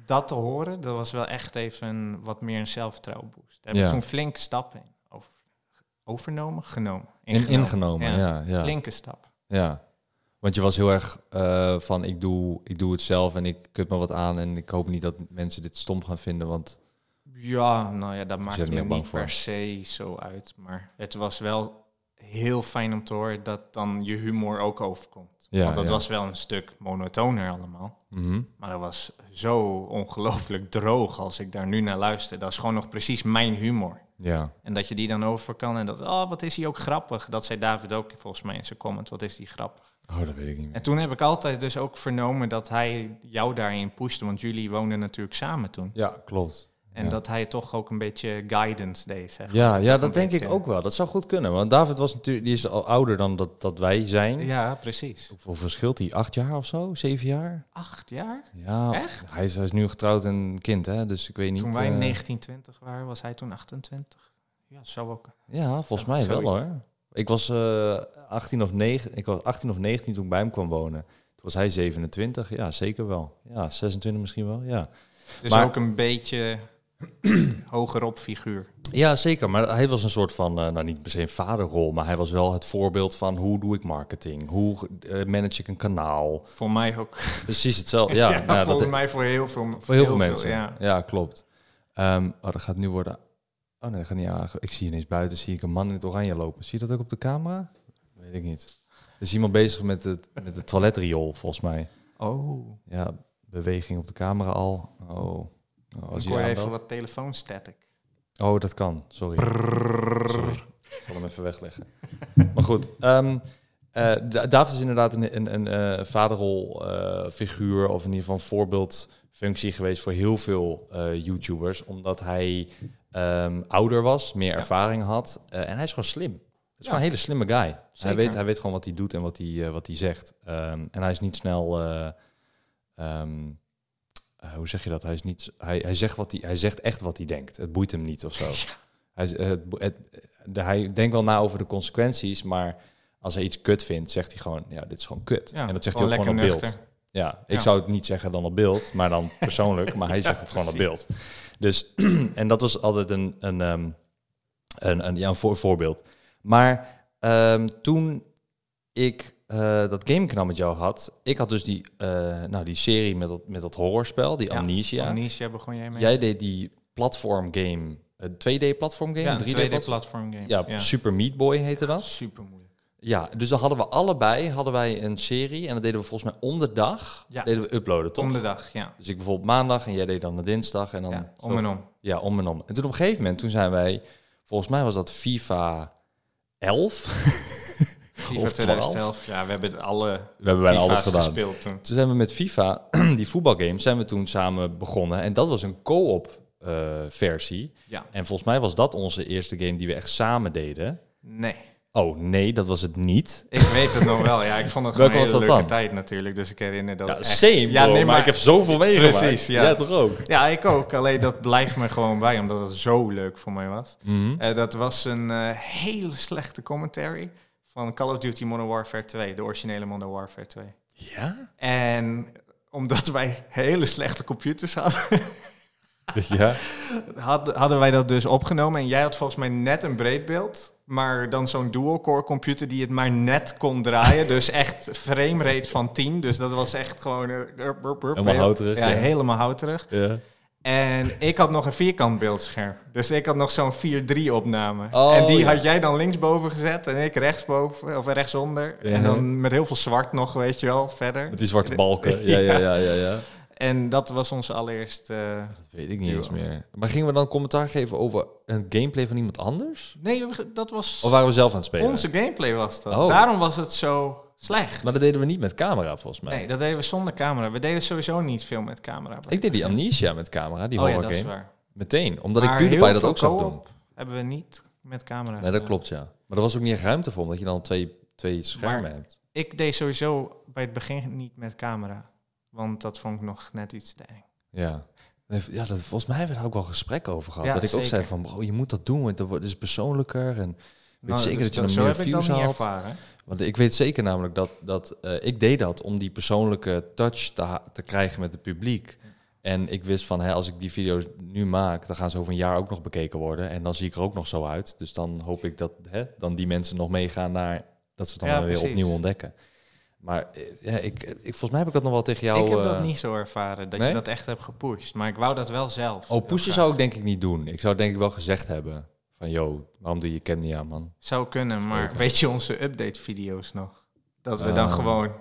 Speaker 2: dat te horen, dat was wel echt even wat meer een zelfvertrouwen boost. Daar heb ik
Speaker 1: Ja.
Speaker 2: toen flinke stappen in over, overnomen, genomen.
Speaker 1: In, ingenomen, ja. ja.
Speaker 2: Flinke stap.
Speaker 1: Ja, want je was heel erg eh, van ik doe, ik doe het zelf en ik kut me wat aan en ik hoop niet dat mensen dit stom gaan vinden, want
Speaker 2: Ja, nou ja, dat
Speaker 1: je
Speaker 2: maakt
Speaker 1: bent
Speaker 2: me
Speaker 1: heel bang
Speaker 2: niet
Speaker 1: voor.
Speaker 2: per se zo uit. Maar het was wel heel fijn om te horen dat dan je humor ook overkomt.
Speaker 1: Ja,
Speaker 2: Want dat
Speaker 1: ja.
Speaker 2: was wel een stuk monotoner allemaal.
Speaker 1: mhm.
Speaker 2: Maar dat was zo ongelooflijk droog als ik daar nu naar luister. Dat is gewoon nog precies mijn humor.
Speaker 1: ja,
Speaker 2: En dat je die dan over kan en dat, oh, wat is hij ook grappig. Dat zei David ook volgens mij in zijn comment, wat is die grappig.
Speaker 1: oh, dat weet ik niet meer.
Speaker 2: En toen heb ik altijd dus ook vernomen dat hij jou daarin pushte, want jullie woonden natuurlijk samen toen.
Speaker 1: Ja, klopt.
Speaker 2: En
Speaker 1: Ja.
Speaker 2: dat hij toch ook een beetje guidance deed, zeg maar. eh,
Speaker 1: Ja, ja,
Speaker 2: een
Speaker 1: dat denk ik
Speaker 2: beetje-
Speaker 1: ook wel. Dat zou goed kunnen, want David was natuurlijk, die is al ouder dan dat, dat wij zijn.
Speaker 2: Ja, precies.
Speaker 1: Hoeveel verschilt hij? Acht jaar of zo? Zeven jaar?
Speaker 2: Acht jaar?
Speaker 1: Ja,
Speaker 2: Echt?
Speaker 1: Hij is, hij is nu getrouwd en een kind, hè? Dus ik weet niet.
Speaker 2: toen wij
Speaker 1: eh,
Speaker 2: 1920 waren, was hij toen 28. Ja, zou ook.
Speaker 1: Ja, volgens
Speaker 2: Zo-
Speaker 1: mij wel
Speaker 2: zoiets.
Speaker 1: hoor. Ik was eh 18 of 9, ik was 18 of 19 toen ik bij hem kwam wonen. Toen Was hij 27? Ja, zeker wel. Ja, 26 misschien wel, ja.
Speaker 2: Dus
Speaker 1: Maar-
Speaker 2: ook een beetje hogerop figuur.
Speaker 1: Ja, zeker. Maar hij was een soort van, eh, nou niet per se een vaderrol, maar hij was wel het voorbeeld van hoe doe ik marketing? Hoe eh, manage ik een kanaal?
Speaker 2: Voor mij ook.
Speaker 1: Precies hetzelfde. Ja, nou, dat-
Speaker 2: volgens mij voor heel veel,
Speaker 1: Voor heel, veel mensen.
Speaker 2: ja.
Speaker 1: ja. klopt. Ehm, oh, dat gaat nu worden. Oh nee, dat gaat niet aardig. Ik zie ineens buiten zie ik een man in het oranje lopen. Zie je dat ook op de camera? Weet ik niet. Er is iemand bezig met het, met het toiletriool, volgens mij.
Speaker 2: Oh,
Speaker 1: Ja, beweging op de camera al. Oh, oh als
Speaker 2: ik
Speaker 1: je
Speaker 2: hoor even wat telefoonstatic.
Speaker 1: Oh, dat kan. Sorry. Sorry. Ik zal hem even wegleggen. maar goed. ehm, eh, Da- David is inderdaad een, een, een eh, vaderrol eh, figuur of in ieder geval een voorbeeldfunctie geweest voor heel veel eh, YouTubers. Omdat hij ehm, ouder was, meer ervaring had eh, en hij is gewoon slim. Het is gewoon een hele slimme guy. Hij
Speaker 2: Zeker.
Speaker 1: weet, hij weet gewoon wat hij doet en wat hij, eh, wat hij zegt. Ehm, en hij is niet snel... eh, ehm, eh, hoe zeg je dat? Hij, is niet, hij, hij, zegt wat hij, hij zegt echt wat hij denkt. Het boeit hem niet of zo. Hij, is- eh, het bo- het- de- hij denkt wel na over de consequenties, maar als hij iets kut vindt, zegt hij gewoon, ja, dit is gewoon kut.
Speaker 2: Ja,
Speaker 1: en dat zegt hij ook
Speaker 2: gewoon
Speaker 1: gewoon op
Speaker 2: lekker
Speaker 1: beeld.
Speaker 2: nuchter.
Speaker 1: Ja, ik
Speaker 2: Ja.
Speaker 1: zou het niet zeggen dan op beeld, maar dan persoonlijk, maar hij zegt het gewoon op beeld. Dus, en dat was altijd een, een, ehm, een, een, ja, een voor- voorbeeld. Maar ehm, toen ik eh dat gamekanaal met jou had, ik had dus die, eh, nou, die serie met dat, met dat horrorspel, die
Speaker 2: Ja,
Speaker 1: Amnesia.
Speaker 2: Amnesia begon jij mee?
Speaker 1: Jij deed die platform game, een 2D platform game,
Speaker 2: ja,
Speaker 1: een 3D,
Speaker 2: een 2D
Speaker 1: platform.
Speaker 2: platform game.
Speaker 1: Ja, Super Meat Boy heette dat.
Speaker 2: super moeilijk.
Speaker 1: Ja, dus dan hadden we allebei hadden wij een serie en dat deden we volgens mij om de dag.
Speaker 2: Ja.
Speaker 1: Deden we uploaden, toch?
Speaker 2: Om de dag, ja.
Speaker 1: Dus ik bijvoorbeeld maandag en jij deed dan de dinsdag en dan
Speaker 2: ja
Speaker 1: zo-
Speaker 2: om en om.
Speaker 1: ja, om en om. En toen op een gegeven moment, toen zijn wij, volgens mij was dat FIFA 11.
Speaker 2: FIFA 2011. Ja, we hebben het alle
Speaker 1: We hebben bijna
Speaker 2: FIFA's
Speaker 1: alles gedaan.
Speaker 2: gespeeld toen.
Speaker 1: Toen zijn we met FIFA, die voetbalgame, zijn we toen samen begonnen. En dat was een co-op eh, versie.
Speaker 2: Ja.
Speaker 1: En volgens mij was dat onze eerste game die we echt samen deden.
Speaker 2: Nee,
Speaker 1: Oh nee, dat was het niet.
Speaker 2: ik weet het nog wel. Ja, ik vond het
Speaker 1: Welke
Speaker 2: gewoon
Speaker 1: was
Speaker 2: een hele
Speaker 1: dat
Speaker 2: leuke
Speaker 1: dan?
Speaker 2: tijd natuurlijk. Dus ik herinner dat
Speaker 1: Ja,
Speaker 2: echt.
Speaker 1: same, ja, nee, maar, ik heb zoveel meegemaakt.
Speaker 2: Precies, ja.
Speaker 1: ja toch ook?
Speaker 2: Ja, ik ook. Alleen dat blijft me gewoon bij, omdat het zo leuk voor mij was.
Speaker 1: Mhm.
Speaker 2: Eh, dat was een eh, hele slechte commentary van Call of Duty Modern Warfare 2, de originele Modern Warfare 2.
Speaker 1: Ja?
Speaker 2: En omdat wij hele slechte computers hadden,
Speaker 1: ja.
Speaker 2: had- hadden wij dat dus opgenomen. En jij had volgens mij net een breedbeeld, maar dan zo'n dual-core computer die het maar net kon draaien. dus echt framerate van 10. Dus dat was echt gewoon... eh, rup, rup, rup.
Speaker 1: Helemaal houterig,
Speaker 2: Ja,
Speaker 1: ja.
Speaker 2: helemaal houterig.
Speaker 1: ja.
Speaker 2: En ik had nog een vierkant beeldscherm. Dus ik had nog zo'n 4-3 opname.
Speaker 1: Oh,
Speaker 2: en die
Speaker 1: ja.
Speaker 2: had jij dan linksboven gezet en ik rechtsboven of rechtsonder.
Speaker 1: Ja.
Speaker 2: En dan met heel veel zwart nog, weet je wel, verder.
Speaker 1: Met die zwarte balken. Ja, ja, ja, ja. ja.
Speaker 2: En dat was onze allereerste... eh,
Speaker 1: Dat weet ik niet eens meer. Maar gingen we dan commentaar geven over een gameplay van iemand anders?
Speaker 2: Nee, we- dat was
Speaker 1: Of waren we zelf aan het spelen?
Speaker 2: onze gameplay was dat.
Speaker 1: Oh.
Speaker 2: Daarom was het zo slecht.
Speaker 1: Maar dat deden we niet met camera, volgens mij.
Speaker 2: Nee, dat deden we zonder camera. We deden sowieso niet veel met camera.
Speaker 1: Ik deed die Amnesia met camera, die
Speaker 2: oh ja,
Speaker 1: horror
Speaker 2: dat is
Speaker 1: game.
Speaker 2: waar.
Speaker 1: Meteen, omdat
Speaker 2: Maar
Speaker 1: ik PewDiePie
Speaker 2: heel
Speaker 1: dat
Speaker 2: veel
Speaker 1: ook zag doen.
Speaker 2: co-op hebben we niet met camera.
Speaker 1: Nee, dat
Speaker 2: gedaan.
Speaker 1: klopt, ja. Maar er was ook niet echt ruimte voor, omdat je dan twee, twee schermen
Speaker 2: Maar-
Speaker 1: hebt.
Speaker 2: Ik deed sowieso bij het begin niet met camera. Want dat vond ik nog net iets te eng.
Speaker 1: Ja. Nee, v- Ja, dat, volgens mij hebben we daar ook wel gesprek over gehad.
Speaker 2: Ja,
Speaker 1: dat ik ook zei
Speaker 2: zeker.
Speaker 1: van, bro, je moet dat doen, want dan wordt- het is persoonlijker. En weet zeker dat je dan
Speaker 2: Nou, dus zo
Speaker 1: meer
Speaker 2: heb ik dat
Speaker 1: views
Speaker 2: niet
Speaker 1: haalt.
Speaker 2: ervaren.
Speaker 1: Want ik weet zeker namelijk dat, dat eh, ik deed dat om die persoonlijke touch te, ha- te krijgen met het publiek. En ik wist van, hè, als ik die video's nu maak, dan gaan ze over een jaar ook nog bekeken worden. En dan zie ik er ook nog zo uit. Dus dan hoop ik dat hè, dan die mensen nog meegaan naar dat ze het dan
Speaker 2: Ja,
Speaker 1: weer
Speaker 2: precies.
Speaker 1: opnieuw ontdekken. Maar eh, ja, ik, ik, volgens mij heb ik dat nog wel tegen jou.
Speaker 2: ik heb
Speaker 1: eh,
Speaker 2: dat niet zo ervaren, dat
Speaker 1: nee?
Speaker 2: je dat echt hebt gepusht. Maar ik wou dat wel zelf.
Speaker 1: Oh, pushen
Speaker 2: Heel graag.
Speaker 1: zou ik denk ik niet doen. Ik zou denk ik wel gezegd hebben van, yo, waarom doe je je cam niet aan, man?
Speaker 2: Zou kunnen, maar
Speaker 1: Beter.
Speaker 2: weet je onze update-video's nog? Dat we dan
Speaker 1: Ah.
Speaker 2: gewoon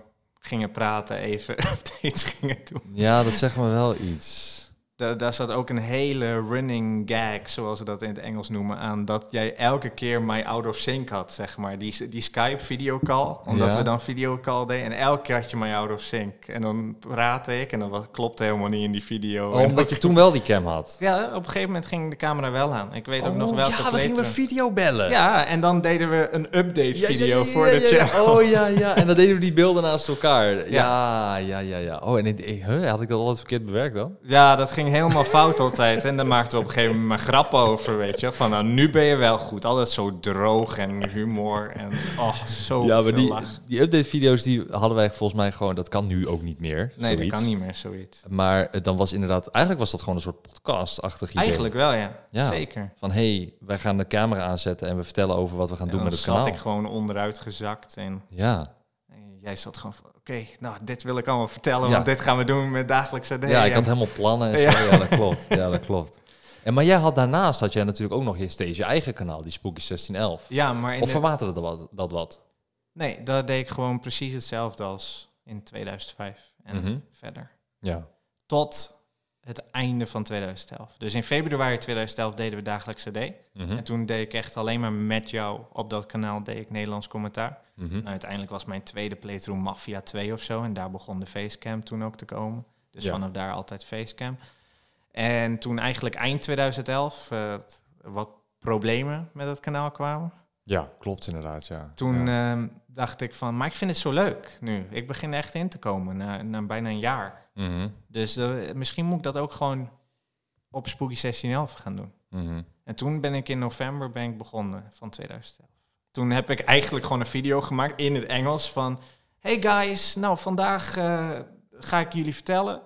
Speaker 2: gingen praten, even updates gingen doen.
Speaker 1: Ja, dat zegt me wel iets.
Speaker 2: Da- daar zat ook een hele running gag, zoals ze dat in het Engels noemen, aan dat jij elke keer mij out of sync had, zeg maar. Die, die Skype-videocall, omdat
Speaker 1: Ja.
Speaker 2: we dan videocall deden. En elke keer had je mij out of sync. En dan praatte ik en dat was- klopte helemaal niet in die video.
Speaker 1: Oh,
Speaker 2: En
Speaker 1: omdat je toen wel die cam had.
Speaker 2: Ja, op een gegeven moment ging de camera wel aan. Ik weet ook nog
Speaker 1: Oh,
Speaker 2: welke
Speaker 1: ja, we
Speaker 2: play
Speaker 1: gingen we
Speaker 2: terug.
Speaker 1: video bellen.
Speaker 2: Ja, en dan deden we een
Speaker 1: Ja, ja,
Speaker 2: update-video
Speaker 1: ja,
Speaker 2: voor
Speaker 1: ja,
Speaker 2: de
Speaker 1: ja, ja.
Speaker 2: chat.
Speaker 1: Oh ja, ja. En dan deden we die beelden naast elkaar. Ja, ja, ja, ja. Oh, en ik, ik- huh, had ik dat altijd verkeerd bewerkt dan?
Speaker 2: Ja, dat ging helemaal fout altijd. En daar maakten we op een gegeven moment maar grappen over, weet je. Van nou, nu ben je wel goed. Altijd zo droog en humor en oh, zo
Speaker 1: Ja, maar
Speaker 2: veel
Speaker 1: die,
Speaker 2: lach.
Speaker 1: die update-video's die hadden wij volgens mij gewoon, dat kan nu ook niet meer.
Speaker 2: Nee, dat
Speaker 1: zoiets.
Speaker 2: kan niet meer, zoiets.
Speaker 1: Maar eh, dan was inderdaad, eigenlijk was dat gewoon een soort podcast-achtig idee.
Speaker 2: Eigenlijk wel, ja.
Speaker 1: Ja.
Speaker 2: Zeker.
Speaker 1: Van hey, wij gaan de camera aanzetten en we vertellen over wat we gaan
Speaker 2: En
Speaker 1: doen
Speaker 2: dan
Speaker 1: met het
Speaker 2: zat
Speaker 1: kanaal.
Speaker 2: ik gewoon onderuit gezakt en...
Speaker 1: Ja.
Speaker 2: en Jij zat gewoon van, oké, nou, dit wil ik allemaal vertellen,
Speaker 1: Ja.
Speaker 2: want dit gaan we doen met dagelijkse dingen.
Speaker 1: ja, ik had helemaal plannen en zo. Ja, dat klopt. Ja, dat klopt. En, maar jij had daarnaast had jij natuurlijk ook nog je- steeds je eigen kanaal, die Spooky 1611.
Speaker 2: Ja, maar in
Speaker 1: Of
Speaker 2: de-
Speaker 1: verwaterde dat wat? Dat wat?
Speaker 2: Nee, dat deed ik gewoon precies hetzelfde als in 2005 en
Speaker 1: Mhm.
Speaker 2: verder.
Speaker 1: Ja.
Speaker 2: Tot het einde van 2011. Dus in februari 2011 deden we dagelijks CD.
Speaker 1: Mhm.
Speaker 2: En toen deed ik echt alleen maar met jou op dat kanaal deed ik Nederlands commentaar.
Speaker 1: Mhm.
Speaker 2: Nou, uiteindelijk was mijn tweede playthrough Mafia 2 of zo. En daar begon de facecam toen ook te komen. Dus
Speaker 1: Ja.
Speaker 2: vanaf daar altijd facecam. En toen eigenlijk eind 2011 eh, t- wat problemen met dat kanaal kwamen.
Speaker 1: Ja, klopt inderdaad. Ja.
Speaker 2: Toen
Speaker 1: Ja.
Speaker 2: ehm, dacht ik van, maar ik vind het zo leuk nu. Ik begin er echt in te komen na, na bijna een jaar.
Speaker 1: Mhm.
Speaker 2: Dus eh, misschien moet ik dat ook gewoon op Spooky 1611 gaan doen.
Speaker 1: Mhm.
Speaker 2: En toen ben ik in november ben ik begonnen van 2011. Toen heb ik eigenlijk gewoon een video gemaakt in het Engels van... Hey guys, nou vandaag eh, ga ik jullie vertellen...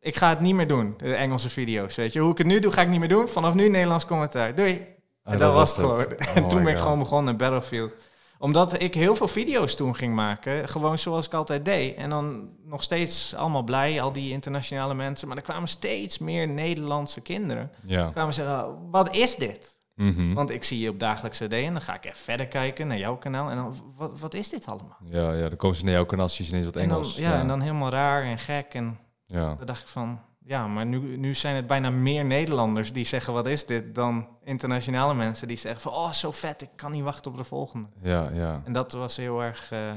Speaker 2: Ik ga het niet meer doen, de Engelse video's, weet je. Hoe ik het nu doe, ga ik niet meer doen. Vanaf nu Nederlands commentaar. Doei.
Speaker 1: Ah,
Speaker 2: en dat, was het
Speaker 1: het.
Speaker 2: gewoon. en
Speaker 1: Oh
Speaker 2: toen
Speaker 1: my
Speaker 2: ben ik
Speaker 1: God.
Speaker 2: gewoon begonnen met Battlefield. Omdat ik heel veel video's toen ging maken. Gewoon zoals ik altijd deed. En dan nog steeds allemaal blij, al die internationale mensen. Maar er kwamen steeds meer Nederlandse kinderen.
Speaker 1: Ja.
Speaker 2: kwamen zeggen, "Oh, wat is dit?
Speaker 1: Mhm.
Speaker 2: Want ik zie je op dagelijkse CD en dan ga ik even verder kijken naar jouw kanaal. En dan, wat, wat is dit allemaal?
Speaker 1: Ja, ja, dan komen ze naar jouw kanaal, zien ze ineens wat
Speaker 2: En dan,
Speaker 1: Engels. Oh.
Speaker 2: ja, en dan helemaal raar en gek. En
Speaker 1: ja.
Speaker 2: dan dacht ik van, ja, maar nu, nu zijn het bijna meer Nederlanders die zeggen, wat is dit? Dan internationale mensen die zeggen van, oh, zo vet, ik kan niet wachten op de volgende.
Speaker 1: Ja, ja,
Speaker 2: En dat was heel erg eh,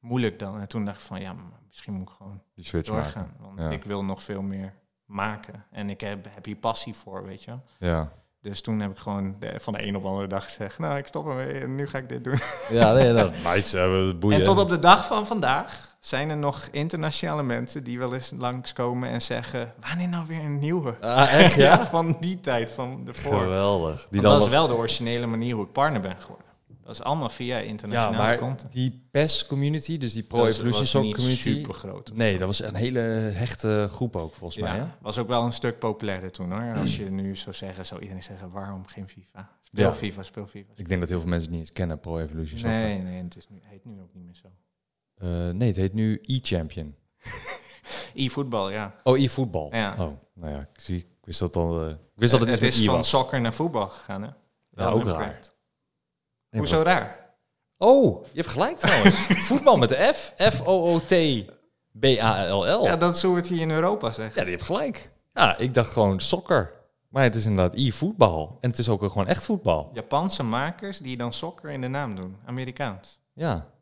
Speaker 2: moeilijk dan. En toen dacht ik van, ja, maar misschien moet ik gewoon
Speaker 1: die switch maken.
Speaker 2: doorgaan. Want
Speaker 1: ja.
Speaker 2: ik wil nog veel meer maken. En ik heb, heb hier passie voor, weet je wel.
Speaker 1: Ja,
Speaker 2: Dus toen heb ik gewoon de- van de een op de andere dag gezegd... nou, ik stop ermee en nu ga ik dit doen.
Speaker 1: ja nee, dat is nice. eh, boeien.
Speaker 2: En tot op de dag van vandaag zijn er nog internationale mensen... die wel eens langskomen en zeggen... wanneer nou weer een nieuwe?
Speaker 1: Ah, echt,
Speaker 2: Ja,
Speaker 1: ja?
Speaker 2: van die tijd, van de voor. Want
Speaker 1: Geweldig. Die
Speaker 2: dat is
Speaker 1: nog-
Speaker 2: wel de originele manier hoe ik partner ben geworden. Dat is allemaal via
Speaker 1: Ja,
Speaker 2: internationale
Speaker 1: maar
Speaker 2: content.
Speaker 1: die PES-community, dus die Pro
Speaker 2: Dat was-
Speaker 1: Evolution
Speaker 2: was
Speaker 1: Soccer
Speaker 2: niet
Speaker 1: community...
Speaker 2: super groot.
Speaker 1: Nee, dat was een hele hechte groep ook, volgens mij. Hè?
Speaker 2: Ja, was ook wel een stuk populairder toen hoor. Als je nu zou zeggen, zou iedereen zeggen, waarom geen FIFA? Speel
Speaker 1: Ja.
Speaker 2: FIFA, speel FIFA.
Speaker 1: Ik denk dat heel veel mensen het niet eens kennen, Pro Evolution Soccer.
Speaker 2: Nee, nee, het is nu, heet nu ook niet meer zo.
Speaker 1: Eh, nee het heet nu e-champion.
Speaker 2: E-voetbal, ja.
Speaker 1: Oh, e-voetbal.
Speaker 2: Ja.
Speaker 1: Oh, nou ja, ik, zie, ik wist dat al... eh, ik wist dat het
Speaker 2: het
Speaker 1: niet
Speaker 2: is
Speaker 1: met i
Speaker 2: van
Speaker 1: was.
Speaker 2: sokker naar voetbal gegaan, hè?
Speaker 1: Ja, ook
Speaker 2: dat
Speaker 1: raar.
Speaker 2: klopt.
Speaker 1: Nee,
Speaker 2: Hoezo
Speaker 1: maar
Speaker 2: raar?
Speaker 1: dat- Oh, je hebt gelijk trouwens. Voetbal met de F. F-O-O-T-B-A-L-L.
Speaker 2: Ja, dat is hoe we het hier in Europa zeggen.
Speaker 1: Ja, die hebt gelijk. Ja, ik dacht gewoon sokker. Maar het is inderdaad e-voetbal. En het is ook gewoon echt voetbal.
Speaker 2: Japanse makers die dan sokker in de naam doen. Amerikaans.
Speaker 1: Ja,
Speaker 2: Dat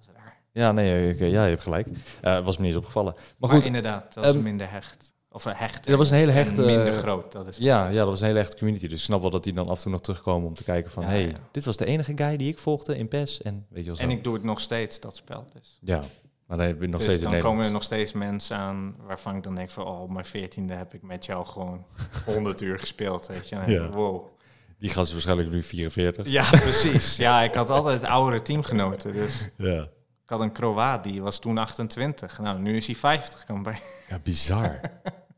Speaker 2: is raar. Maar,
Speaker 1: ja nee, oké, ja, je hebt gelijk. Eh, was me niet eens opgevallen. Maar goed,
Speaker 2: inderdaad, dat is
Speaker 1: ehm,
Speaker 2: minder hecht. Of eh, hecht.
Speaker 1: dat was een hele
Speaker 2: en
Speaker 1: hechte-
Speaker 2: Minder groot, dat is
Speaker 1: ja, ja, dat was een hele echte community. Dus ik snap wel dat die dan af en toe nog terugkomen om te kijken van...
Speaker 2: Ja,
Speaker 1: hey,
Speaker 2: ja.
Speaker 1: dit was de enige guy die ik volgde in PES. En weet je wel zo.
Speaker 2: En ik doe het nog steeds, dat spel dus.
Speaker 1: Ja, maar dan heb je nog
Speaker 2: dus
Speaker 1: steeds in
Speaker 2: dan komen er
Speaker 1: Nederland.
Speaker 2: nog steeds mensen aan waarvan ik dan denk van... oh, op mijn veertiende heb ik met jou gewoon 100 uur gespeeld, weet je. En
Speaker 1: Ja.
Speaker 2: Wow.
Speaker 1: Die gast is waarschijnlijk nu 44.
Speaker 2: Ja, precies. Ja, ik had altijd oudere teamgenoten, dus...
Speaker 1: Ja,
Speaker 2: Ik had een Kroaat, die was toen 28. Nou, nu is hij 50, kan bij.
Speaker 1: ja bizar.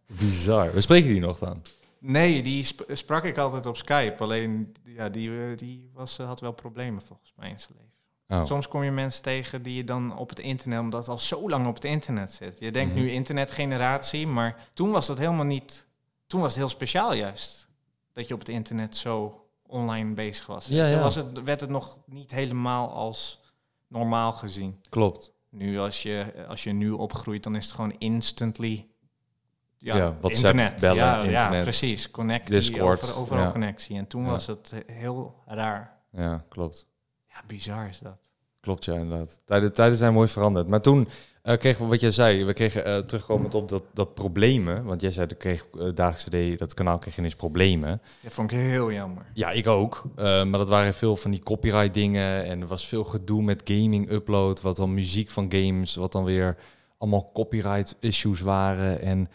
Speaker 1: bizar. We spreken die nog dan?
Speaker 2: Nee, die sp- sprak ik altijd op Skype. Alleen, ja, die, eh, die was, eh, had wel problemen volgens mij in zijn leven.
Speaker 1: Oh.
Speaker 2: Soms kom je mensen tegen die je dan op het internet, omdat het al zo lang op het internet zit. Je denkt
Speaker 1: Mhm.
Speaker 2: nu internetgeneratie, maar toen was dat helemaal niet... Toen was het heel speciaal juist, dat je op het internet zo online bezig was.
Speaker 1: Ja, ja.
Speaker 2: Toen was het, werd het nog niet helemaal als normaal gezien.
Speaker 1: Klopt.
Speaker 2: Nu, als je, als je nu opgroeit, dan is het gewoon instantly. Ja,
Speaker 1: Ja, WhatsApp,
Speaker 2: internet.
Speaker 1: bellen,
Speaker 2: ja, ja,
Speaker 1: internet,
Speaker 2: precies. Connectie,
Speaker 1: Discord,
Speaker 2: over, overal
Speaker 1: ja.
Speaker 2: connectie. En toen
Speaker 1: Ja.
Speaker 2: was het heel raar.
Speaker 1: Ja, klopt.
Speaker 2: Ja, bizar is dat.
Speaker 1: Klopt, ja, inderdaad. Tijden, tijden zijn mooi veranderd. Maar toen eh, kregen we, wat jij zei, we kregen eh, terugkomend op dat, dat problemen. Want jij zei, dat kreeg eh, Dagelijkse D, dat kanaal kreeg ineens problemen.
Speaker 2: Dat vond ik heel jammer.
Speaker 1: Ja, ik ook. Eh, maar dat waren veel van die copyright dingen. En er was veel gedoe met gaming upload. Wat dan muziek van games, wat dan weer allemaal copyright issues waren. En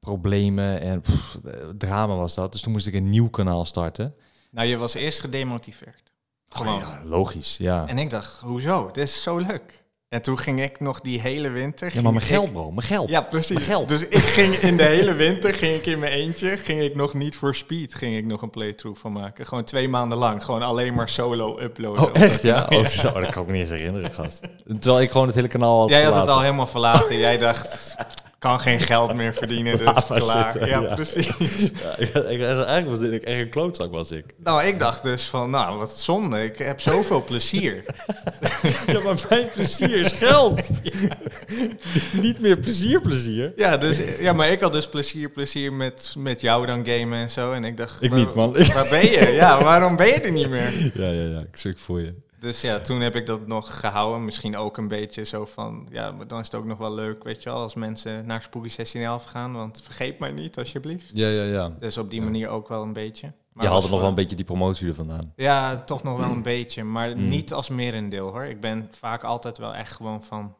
Speaker 1: problemen en pff, drama was dat. Dus toen moest ik een nieuw kanaal starten.
Speaker 2: Nou, je was eerst gedemotiveerd. Gewoon.
Speaker 1: Oh ja, logisch, ja.
Speaker 2: En ik dacht, hoezo? Dit is zo leuk. En toen ging ik nog die hele winter...
Speaker 1: Ja, maar mijn
Speaker 2: ging
Speaker 1: geld,
Speaker 2: ik-
Speaker 1: bro, mijn geld.
Speaker 2: Ja, precies.
Speaker 1: Mijn geld.
Speaker 2: Dus ik ging in de hele winter ging ik in mijn eentje, ging ik nog niet voor speed, ging ik nog een playthrough van maken. Gewoon twee maanden lang, gewoon alleen maar solo uploaden.
Speaker 1: Oh, echt, ja? Oh, zo, dat kan ik me niet eens herinneren, gast. Terwijl ik gewoon het hele kanaal had
Speaker 2: Jij had het
Speaker 1: verlaten.
Speaker 2: al helemaal verlaten. Jij dacht, kan geen geld meer verdienen, dus
Speaker 1: Laat maar
Speaker 2: klaar.
Speaker 1: zitten,
Speaker 2: ja,
Speaker 1: ja.
Speaker 2: precies.
Speaker 1: Ja, ik, ik- eigenlijk was ik echt een klootzak, was ik.
Speaker 2: Nou, ik dacht dus van, nou, wat zonde. Ik heb zoveel plezier.
Speaker 1: Ja, maar mijn plezier is geld. Niet meer plezier, plezier.
Speaker 2: Ja, dus, ja, maar ik had dus plezier, plezier met, met jou dan gamen en zo. En ik dacht...
Speaker 1: Ik
Speaker 2: waar-
Speaker 1: niet, man.
Speaker 2: Waar ben je? Ja, waarom ben je er niet meer?
Speaker 1: Ja, ja, ja, ik schrik voor je.
Speaker 2: Dus ja, toen heb ik dat nog gehouden. Misschien ook een beetje zo van... Ja, maar dan is het ook nog wel leuk, weet je wel... als mensen naar Spooky 1611 gaan. Want vergeet mij niet, alsjeblieft.
Speaker 1: Ja, ja, ja.
Speaker 2: Dus op die manier ook wel een beetje. Maar
Speaker 1: je
Speaker 2: was
Speaker 1: had er nog wel
Speaker 2: wel-
Speaker 1: een beetje die promotie er vandaan.
Speaker 2: Ja, toch nog wel een beetje. Maar
Speaker 1: Mm.
Speaker 2: niet als merendeel, hoor. Ik ben vaak altijd wel echt gewoon van...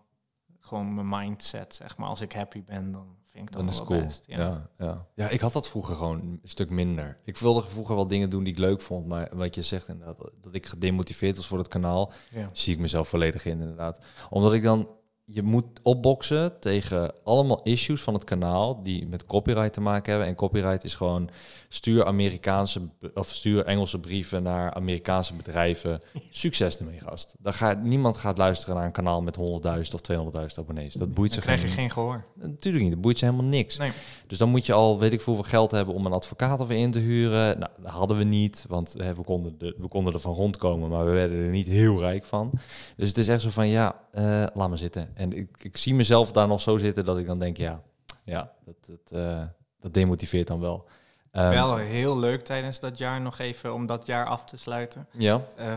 Speaker 2: Gewoon mijn mindset, zeg maar. Als ik happy ben, dan vind ik dat
Speaker 1: Dan is
Speaker 2: nog
Speaker 1: het
Speaker 2: wel
Speaker 1: cool.
Speaker 2: best.
Speaker 1: Ja. Ja, ja. ik had dat vroeger gewoon een stuk minder. Ik wilde vroeger wel dingen doen die ik leuk vond. Maar wat je zegt inderdaad, dat ik gedemotiveerd was voor het kanaal,
Speaker 2: Ja.
Speaker 1: zie ik mezelf volledig in inderdaad. Omdat ik dan, je moet opboksen tegen allemaal issues van het kanaal die met copyright te maken hebben. En copyright is gewoon stuur Amerikaanse b- of stuur Engelse brieven naar Amerikaanse bedrijven. Succes ermee, gast. Dan gaat, niemand gaat luisteren naar een kanaal met 100.000 of 200.000 abonnees. Dat boeit
Speaker 2: Dan
Speaker 1: ze
Speaker 2: krijg je geen gehoor.
Speaker 1: Natuurlijk niet, dat boeit ze helemaal niks.
Speaker 2: Nee.
Speaker 1: Dus dan moet je al, weet ik veel, hoeveel geld hebben om een advocaat ervoor in te huren. Nou, dat hadden we niet, want hè, we, konden de, we konden er van rondkomen, maar we werden er niet heel rijk van. Dus het is echt zo van, ja, eh, laat maar zitten. En ik, ik zie mezelf daar nog zo zitten dat ik dan denk, ja, ja dat, dat, eh, dat demotiveert dan wel. Ehm,
Speaker 2: Wel heel leuk tijdens dat jaar nog even om dat jaar af te sluiten.
Speaker 1: Ja,
Speaker 2: Eh,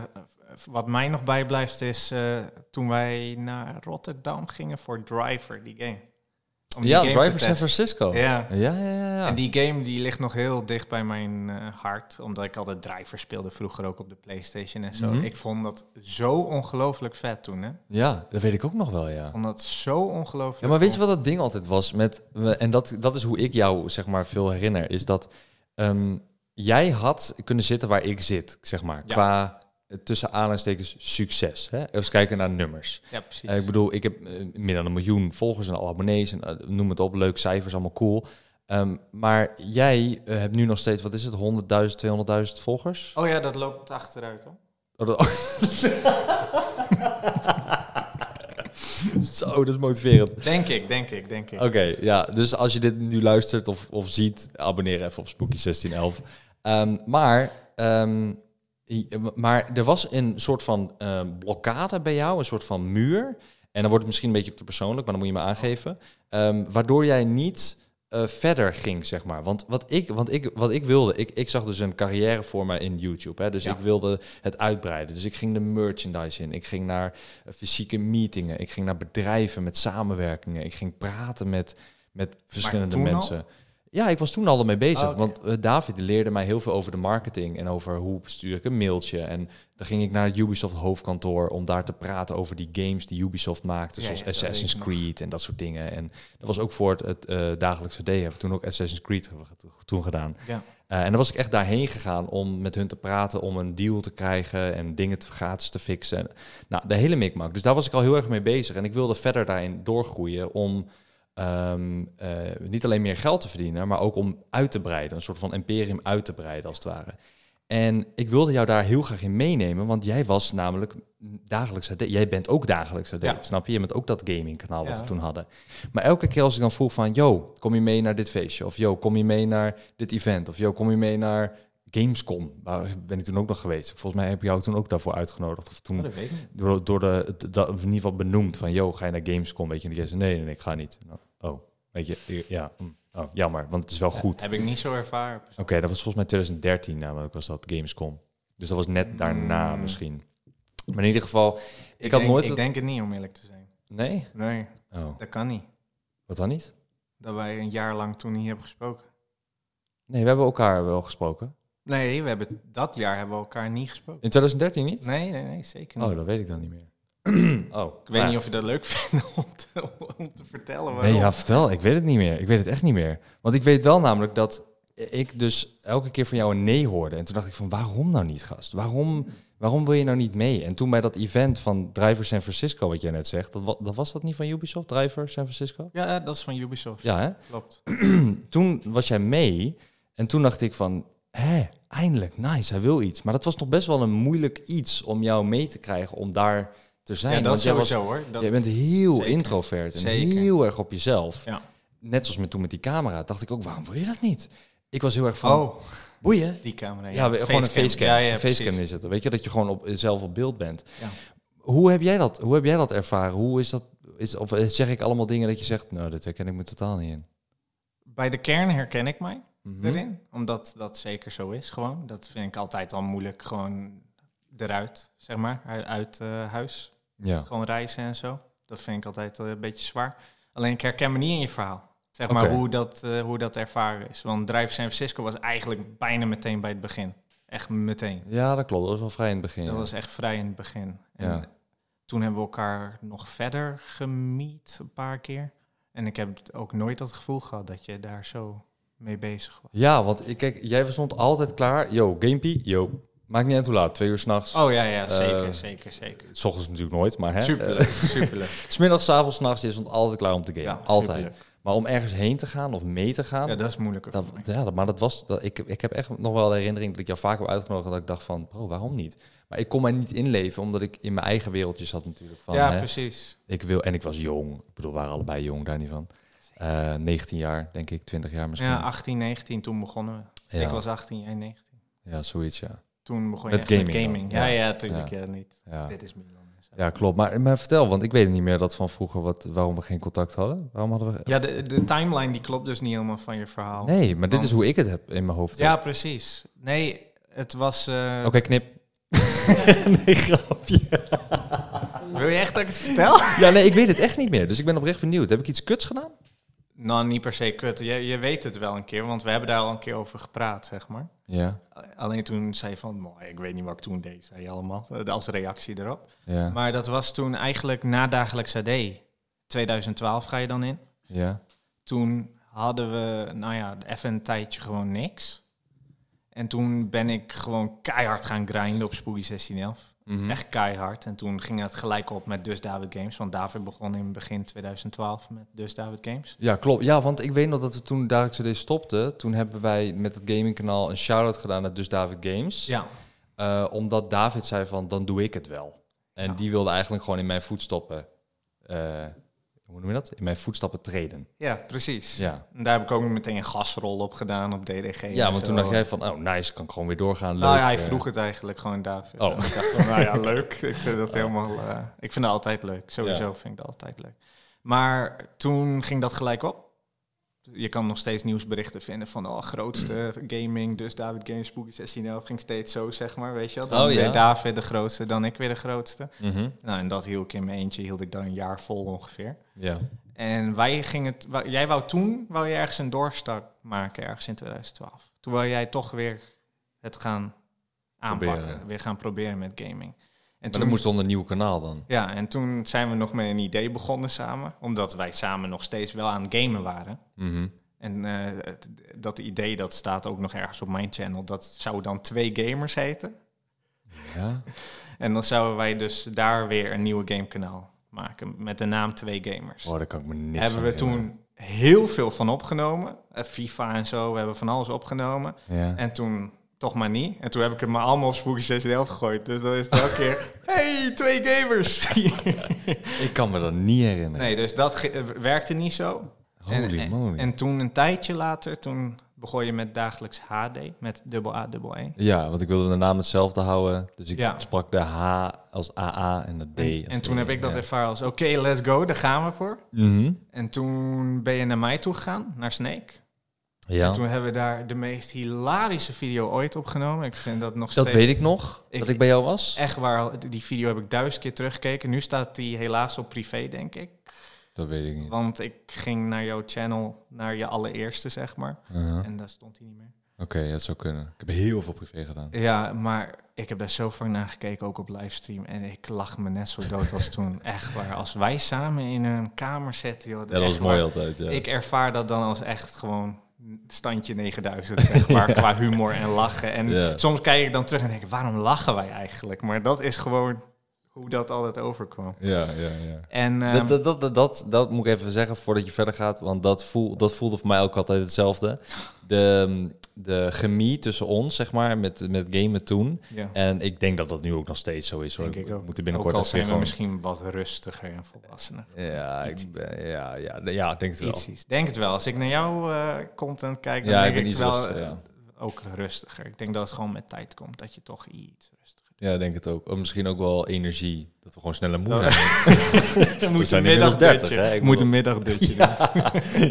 Speaker 2: wat mij nog bijblijft is eh, toen wij naar Rotterdam gingen voor Driver, die game. Om die
Speaker 1: ja
Speaker 2: game te
Speaker 1: Driver San
Speaker 2: testen.
Speaker 1: Francisco.
Speaker 2: Ja.
Speaker 1: ja, ja, ja. ja.
Speaker 2: En die game die ligt nog heel dicht bij mijn eh, hart, omdat ik altijd Driver speelde vroeger ook op de PlayStation en zo.
Speaker 1: Mhm.
Speaker 2: Ik vond dat zo ongelooflijk vet toen, hè? Ik
Speaker 1: ja, dat weet ik ook nog wel, ja.
Speaker 2: vond dat zo ongelooflijk.
Speaker 1: Ja, maar weet je wat dat ding altijd was? Met, we- en dat, dat is hoe ik jou zeg maar veel herinner. Is dat ehm, jij had kunnen zitten waar ik zit, zeg maar.
Speaker 2: Ja.
Speaker 1: Qua eh, tussen aanhalingstekens succes. Hè? Als we kijken naar nummers.
Speaker 2: Ja, precies.
Speaker 1: Eh, ik bedoel, ik heb eh, meer dan een miljoen volgers en al abonnees en eh, noem het op. Leuk cijfers, allemaal cool. Ehm, maar jij eh, hebt nu nog steeds, wat is het, 100.000, 200.000 volgers?
Speaker 2: Oh ja, dat loopt achteruit, hoor.
Speaker 1: Oh, dat- Zo, dat is motiverend.
Speaker 2: Denk ik, denk ik, denk ik.
Speaker 1: Oké, ja. Dus als je dit nu luistert of, of ziet, abonneer even op Spooky1611. Ehm, maar, ehm, i- maar er was een soort van ehm, blokkade bij jou, een soort van muur. En dan wordt het misschien een beetje te persoonlijk, maar dan moet je me aangeven. Ehm, waardoor jij niet eh, verder ging, zeg maar. Want wat ik, want ik, wat ik wilde, ik, ik zag dus een carrière voor me in YouTube. Hè? Dus
Speaker 2: Ja.
Speaker 1: ik wilde het uitbreiden. Dus ik ging de merchandise in. Ik ging naar eh, fysieke meetingen. Ik ging naar bedrijven met samenwerkingen. Ik ging praten met, met verschillende
Speaker 2: toen al?
Speaker 1: mensen. Ja, ik was toen al ermee bezig.
Speaker 2: Ah, oké.
Speaker 1: Want eh, David leerde mij heel veel over de marketing en over hoe stuur ik een mailtje. En dan ging ik naar het Ubisoft hoofdkantoor om daar te praten over die games die Ubisoft maakte,
Speaker 2: Ja,
Speaker 1: zoals
Speaker 2: ja, dat
Speaker 1: Assassin's
Speaker 2: weet ik
Speaker 1: Creed en dat soort dingen. En dat was ook voor het, het eh, dagelijkse D. Hebben we toen ook Assassin's Creed ge- toen gedaan.
Speaker 2: Ja.
Speaker 1: Eh, en dan was ik echt daarheen gegaan om met hun te praten, om een deal te krijgen en dingen te, gratis te fixen. En, nou, de hele mikmak. Dus daar was ik al heel erg mee bezig. En ik wilde verder daarin doorgroeien om ehm, eh, niet alleen meer geld te verdienen, maar ook om uit te breiden. Een soort van imperium uit te breiden, als het ware. En ik wilde jou daar heel graag in meenemen, want jij was namelijk dagelijks AD. Jij bent ook dagelijks AD,
Speaker 2: Ja.
Speaker 1: snap je? Je bent ook dat gamingkanaal wat
Speaker 2: Ja.
Speaker 1: we toen hadden. Maar elke keer als ik dan vroeg van, yo, kom je mee naar dit feestje? Of yo, kom je mee naar dit event? Of yo, kom je mee naar Gamescom? Waar ben ik toen ook nog geweest? Volgens mij heb ik jou toen ook daarvoor uitgenodigd. Of toen
Speaker 2: Oh, dat weet ik niet.
Speaker 1: door, door de, het- dat- in ieder geval benoemd van, yo, ga je naar Gamescom? Weet je, en die zei, nee, nee, nee, ik ga niet. Nou, oh, weet je, ik- ja, mm, oh, jammer, want het is wel goed.
Speaker 2: Heb ik niet zo ervaren.
Speaker 1: Oké, dat was volgens mij 2013 namelijk was dat Gamescom. Dus dat was net daarna
Speaker 2: Mm.
Speaker 1: misschien. Maar in ieder geval, ik,
Speaker 2: Ik,
Speaker 1: had
Speaker 2: denk,
Speaker 1: nooit...
Speaker 2: ik
Speaker 1: het-
Speaker 2: denk het niet, om eerlijk te zijn.
Speaker 1: Nee?
Speaker 2: Nee,
Speaker 1: Oh,
Speaker 2: dat kan niet.
Speaker 1: wat dan niet?
Speaker 2: Dat wij een jaar lang toen niet hebben gesproken.
Speaker 1: Nee, we hebben elkaar wel gesproken.
Speaker 2: Nee, we hebben, dat jaar hebben we elkaar niet gesproken.
Speaker 1: In 2013 niet?
Speaker 2: Nee, nee, nee, zeker niet.
Speaker 1: Oh, dat weet ik dan niet meer. Oh,
Speaker 2: Ik weet niet of je dat leuk vindt om te, om te vertellen.
Speaker 1: Nee,
Speaker 2: Waarom.
Speaker 1: ja, vertel. Ik weet het niet meer. Ik weet het echt niet meer. Want ik weet wel namelijk dat ik dus elke keer van jou een nee hoorde. En toen dacht ik van, waarom nou niet, gast? Waarom, waarom wil je nou niet mee? En toen bij dat event van Driver San Francisco, wat jij net zegt, dat, wa- dat was dat niet van Ubisoft, Driver San Francisco?
Speaker 2: ja, eh, dat is van Ubisoft.
Speaker 1: Ja, hè?
Speaker 2: Klopt.
Speaker 1: Toen was jij mee en toen dacht ik van, hè, eindelijk, nice, hij wil iets. Maar dat was nog best wel een moeilijk iets om jou mee te krijgen om daar te zijn.
Speaker 2: Ja, dat
Speaker 1: Want
Speaker 2: is
Speaker 1: jij was,
Speaker 2: sowieso hoor. Dat,
Speaker 1: jij bent heel
Speaker 2: zeker.
Speaker 1: introvert en
Speaker 2: Zeker.
Speaker 1: heel erg op jezelf
Speaker 2: ja.
Speaker 1: net zoals met toen met die camera, dacht ik ook, waarom wil je dat niet? Ik was heel erg van,
Speaker 2: Oh,
Speaker 1: boeien.
Speaker 2: die camera.
Speaker 1: Ja, we- gewoon een facecam.
Speaker 2: Ja, ja,
Speaker 1: een facecam
Speaker 2: precies.
Speaker 1: is het. Weet je, dat je gewoon op, zelf op beeld bent.
Speaker 2: Ja.
Speaker 1: Hoe, heb jij dat, hoe heb jij dat ervaren? Hoe is dat, is, of eh, zeg ik allemaal dingen dat je zegt, nou, dat herken ik me totaal niet in.
Speaker 2: Bij de kern herken ik mij
Speaker 1: Mhm.
Speaker 2: erin. Omdat dat zeker zo is gewoon. Dat vind ik altijd al moeilijk. Gewoon eruit, zeg maar. Uit, uit, eh, huis.
Speaker 1: Ja.
Speaker 2: Gewoon reizen en zo. Dat vind ik altijd eh, een beetje zwaar. Alleen ik herken me niet in je verhaal. Zeg maar
Speaker 1: Oké.
Speaker 2: hoe, dat, eh, hoe dat ervaren is. Want Drive San Francisco was eigenlijk bijna meteen bij het begin. Echt meteen.
Speaker 1: ja, dat klopt. Dat was wel vrij in het begin.
Speaker 2: Dat
Speaker 1: ja.
Speaker 2: was echt vrij in het begin. En
Speaker 1: Ja.
Speaker 2: toen hebben we elkaar nog verder gemiet een paar keer. En ik heb ook nooit dat gevoel gehad dat je daar zo mee bezig was.
Speaker 1: Ja, want ik, kijk, jij stond altijd klaar. Yo, gamepie, yo. Maakt niet uit hoe laat, twee uur s'nachts.
Speaker 2: Oh ja, ja, zeker,
Speaker 1: Eh,
Speaker 2: zeker, zeker.
Speaker 1: S ochtends natuurlijk nooit, maar hè. Eh.
Speaker 2: Superleuk, superleuk.
Speaker 1: Smiddags, avonds, 's nachts, je stond altijd klaar om te gamen.
Speaker 2: Ja,
Speaker 1: altijd.
Speaker 2: superleuk.
Speaker 1: Maar om ergens heen te gaan of mee te gaan,
Speaker 2: Ja, dat is moeilijker
Speaker 1: Dat,
Speaker 2: voor mij.
Speaker 1: ja, dat- maar dat was. Dat, ik, ik heb echt nog wel de herinnering dat ik jou vaak heb uitgenodigd. en Dat ik dacht van, bro, waarom niet? Maar ik kon mij niet inleven, omdat ik in mijn eigen wereldje zat natuurlijk. Van,
Speaker 2: ja,
Speaker 1: hè,
Speaker 2: precies.
Speaker 1: ik wil, en ik was jong. Ik bedoel, we waren allebei jong, daar niet van. Eh, 19 jaar, denk ik, 20 jaar misschien.
Speaker 2: Ja, 18, 19, toen begonnen we.
Speaker 1: ja,
Speaker 2: Ik was 18, jij 19.
Speaker 1: ja, zoiets, ja.
Speaker 2: Toen begon
Speaker 1: Met
Speaker 2: je echt
Speaker 1: gaming
Speaker 2: met
Speaker 1: dan,
Speaker 2: gaming.
Speaker 1: ja.
Speaker 2: Ja, ja, tuurlijk, ja, niet.
Speaker 1: Ja,
Speaker 2: Dit is Milan. en zo.
Speaker 1: ja klopt. Maar, maar vertel, want ik weet niet meer dat van vroeger wat, waarom we geen contact hadden. Waarom hadden we.
Speaker 2: Ja, de, de timeline die klopt dus niet helemaal van je verhaal.
Speaker 1: Nee, maar dit
Speaker 2: Want-
Speaker 1: is hoe ik het heb in mijn hoofd.
Speaker 2: Ja, precies. Nee, het was... eh,
Speaker 1: Oké, knip. nee, grapje.
Speaker 2: Wil je echt dat ik het vertel?
Speaker 1: Ja, nee, ik weet het echt niet meer. Dus ik ben oprecht benieuwd. Heb ik iets kuts gedaan?
Speaker 2: Nou, niet per se kut. Je, je weet het wel een keer, want we hebben daar al een keer over gepraat, zeg maar.
Speaker 1: Ja,
Speaker 2: Alleen toen zei je van, "Mooi, ik weet niet wat ik toen deed, zei je allemaal, eh, als reactie erop.
Speaker 1: ja,
Speaker 2: Maar dat was toen eigenlijk na dagelijks AD, 2012 ga je dan in.
Speaker 1: ja.
Speaker 2: Toen hadden we, nou ja, even een tijdje gewoon niks. En toen ben ik gewoon keihard gaan grinden op Spoelie 1611.
Speaker 1: Mhm.
Speaker 2: Echt keihard. En toen ging het gelijk op met Dus David Games. Want David begon in begin 2012 met Dus David Games.
Speaker 1: Ja, klopt. Ja, want ik weet nog dat we toen Dark CD stopten, toen hebben wij met het gamingkanaal een shout-out gedaan naar Dus David Games.
Speaker 2: Ja,
Speaker 1: Eh, omdat David zei van, dan doe ik het wel. En
Speaker 2: Ja.
Speaker 1: die wilde eigenlijk gewoon in mijn voetstappen, eh, hoe noem je dat? In mijn voetstappen treden.
Speaker 2: ja precies.
Speaker 1: Ja,
Speaker 2: En daar heb ik ook meteen een gasrol op gedaan op DDG.
Speaker 1: ja
Speaker 2: en
Speaker 1: want
Speaker 2: zo.
Speaker 1: toen dacht jij van, oh nice, kan ik gewoon weer doorgaan. Leuk,
Speaker 2: Nou ja, hij
Speaker 1: eh.
Speaker 2: vroeg het eigenlijk gewoon David.
Speaker 1: Oh.
Speaker 2: En ik dacht van, nou ja, leuk. Ik vind dat helemaal... eh, ik vind dat altijd leuk. Sowieso vind ik dat altijd leuk. Maar toen ging dat gelijk op. Je kan nog steeds nieuwsberichten vinden van... Oh, grootste gaming, dus David Games, Spooky 1611. Ging steeds zo, zeg maar, weet je wel. Dan
Speaker 1: Oh, ja.
Speaker 2: weer David de grootste, dan ik weer de grootste.
Speaker 1: Mhm.
Speaker 2: Nou, en dat hield ik in mijn eentje. Hield ik dan een jaar vol ongeveer.
Speaker 1: Ja,
Speaker 2: En wij gingen het, wa- jij wou toen wou je ergens een doorstart maken, ergens in 2012. Toen wou jij toch weer het gaan aanpakken,
Speaker 1: Proberen.
Speaker 2: weer gaan proberen met gaming. En
Speaker 1: maar dat moest onder een nieuw kanaal dan.
Speaker 2: ja, en toen zijn we nog met een idee begonnen samen, omdat wij samen nog steeds wel aan het gamen waren.
Speaker 1: Mhm.
Speaker 2: En eh, het- dat idee dat staat ook nog ergens op mijn channel, dat zou dan twee gamers heten.
Speaker 1: Ja,
Speaker 2: En dan zouden wij dus daar weer een nieuwe gamekanaal maken met de naam Twee Gamers.
Speaker 1: oh, daar kan ik me niks
Speaker 2: hebben
Speaker 1: van
Speaker 2: we toen heel veel van opgenomen. Eh, FIFA en zo, we hebben van alles opgenomen.
Speaker 1: herinneren. Ja.
Speaker 2: En toen toch maar niet. En toen heb ik het maar allemaal op Spooky 611 gegooid. Dus dan is het elke keer, hey, twee gamers!
Speaker 1: Ik kan me dat niet herinneren.
Speaker 2: nee, dus dat ge- eh, werkte niet zo.
Speaker 1: Holy
Speaker 2: en,
Speaker 1: moly.
Speaker 2: En toen een tijdje later, toen begon je met dagelijks HD, met dubbel A, dubbel E.
Speaker 1: Ja, want ik wilde de naam hetzelfde houden. Dus ik
Speaker 2: Ja.
Speaker 1: sprak de H als AA en de D als
Speaker 2: En toen
Speaker 1: E,
Speaker 2: heb ik dat
Speaker 1: ja.
Speaker 2: ervaren als, oké, let's go, daar gaan we voor.
Speaker 1: Mhm.
Speaker 2: En toen ben je naar mij toe gegaan, naar Snake.
Speaker 1: Ja,
Speaker 2: Toen hebben we daar de meest hilarische video ooit opgenomen. Ik vind dat nog
Speaker 1: dat
Speaker 2: steeds...
Speaker 1: weet ik nog,
Speaker 2: Ik-
Speaker 1: dat ik bij jou was.
Speaker 2: Echt waar, die video heb ik duizend keer teruggekeken. Nu staat die helaas op privé, denk ik.
Speaker 1: Dat weet ik niet.
Speaker 2: Want ik ging naar jouw channel, naar je allereerste, zeg maar.
Speaker 1: Uh-huh.
Speaker 2: En daar stond hij niet meer.
Speaker 3: Oké, dat zou kunnen. Ik heb heel veel privé gedaan.
Speaker 2: Ja, maar ik heb daar zo vaak naar gekeken, ook op livestream. En ik lach me net zo dood als toen. Echt waar. Als wij samen in een kamer zitten, joh.
Speaker 1: Ja, dat
Speaker 2: echt
Speaker 1: was mooi
Speaker 2: waar.
Speaker 1: altijd, ja.
Speaker 2: Ik ervaar dat dan als echt gewoon standje 9000, zeg maar, qua humor en lachen. En
Speaker 1: Ja.
Speaker 2: soms kijk ik dan terug en denk ik, waarom lachen wij eigenlijk? Maar dat is gewoon hoe dat altijd overkwam.
Speaker 3: Ja, ja, ja.
Speaker 2: En ehm,
Speaker 1: Dat, dat, dat, dat, dat, dat moet ik even zeggen voordat je verder gaat, want dat, voel, dat voelde voor mij ook altijd hetzelfde. De, de chemie tussen ons, zeg maar, met, met gamen toen.
Speaker 2: ja,
Speaker 1: En ik denk dat dat nu ook nog steeds zo is. Hoor.
Speaker 2: denk ik ook.
Speaker 1: We moeten binnenkort
Speaker 2: ook al
Speaker 1: even
Speaker 2: zijn we
Speaker 1: gewoon...
Speaker 2: misschien wat rustiger en volwassener.
Speaker 1: Ja, ik, ben- ja, ja, nee, ja, ik denk het wel.
Speaker 2: Iets is. Denk het wel. Als ik naar jouw eh, content kijk, dan
Speaker 1: Ja, ik
Speaker 2: denk
Speaker 1: ben
Speaker 2: ik,
Speaker 1: iets
Speaker 2: wel
Speaker 1: rustiger,
Speaker 2: eh,
Speaker 1: ja.
Speaker 2: ook rustiger. Ik denk dat het gewoon met tijd komt, dat je toch iets rustiger...
Speaker 3: Ja, denk het ook.
Speaker 1: Of misschien ook wel energie, dat we gewoon sneller moe zijn.
Speaker 2: Je
Speaker 1: We zijn inmiddels 30, hè? Ik
Speaker 2: moet
Speaker 1: bedoel-
Speaker 2: een middagdutje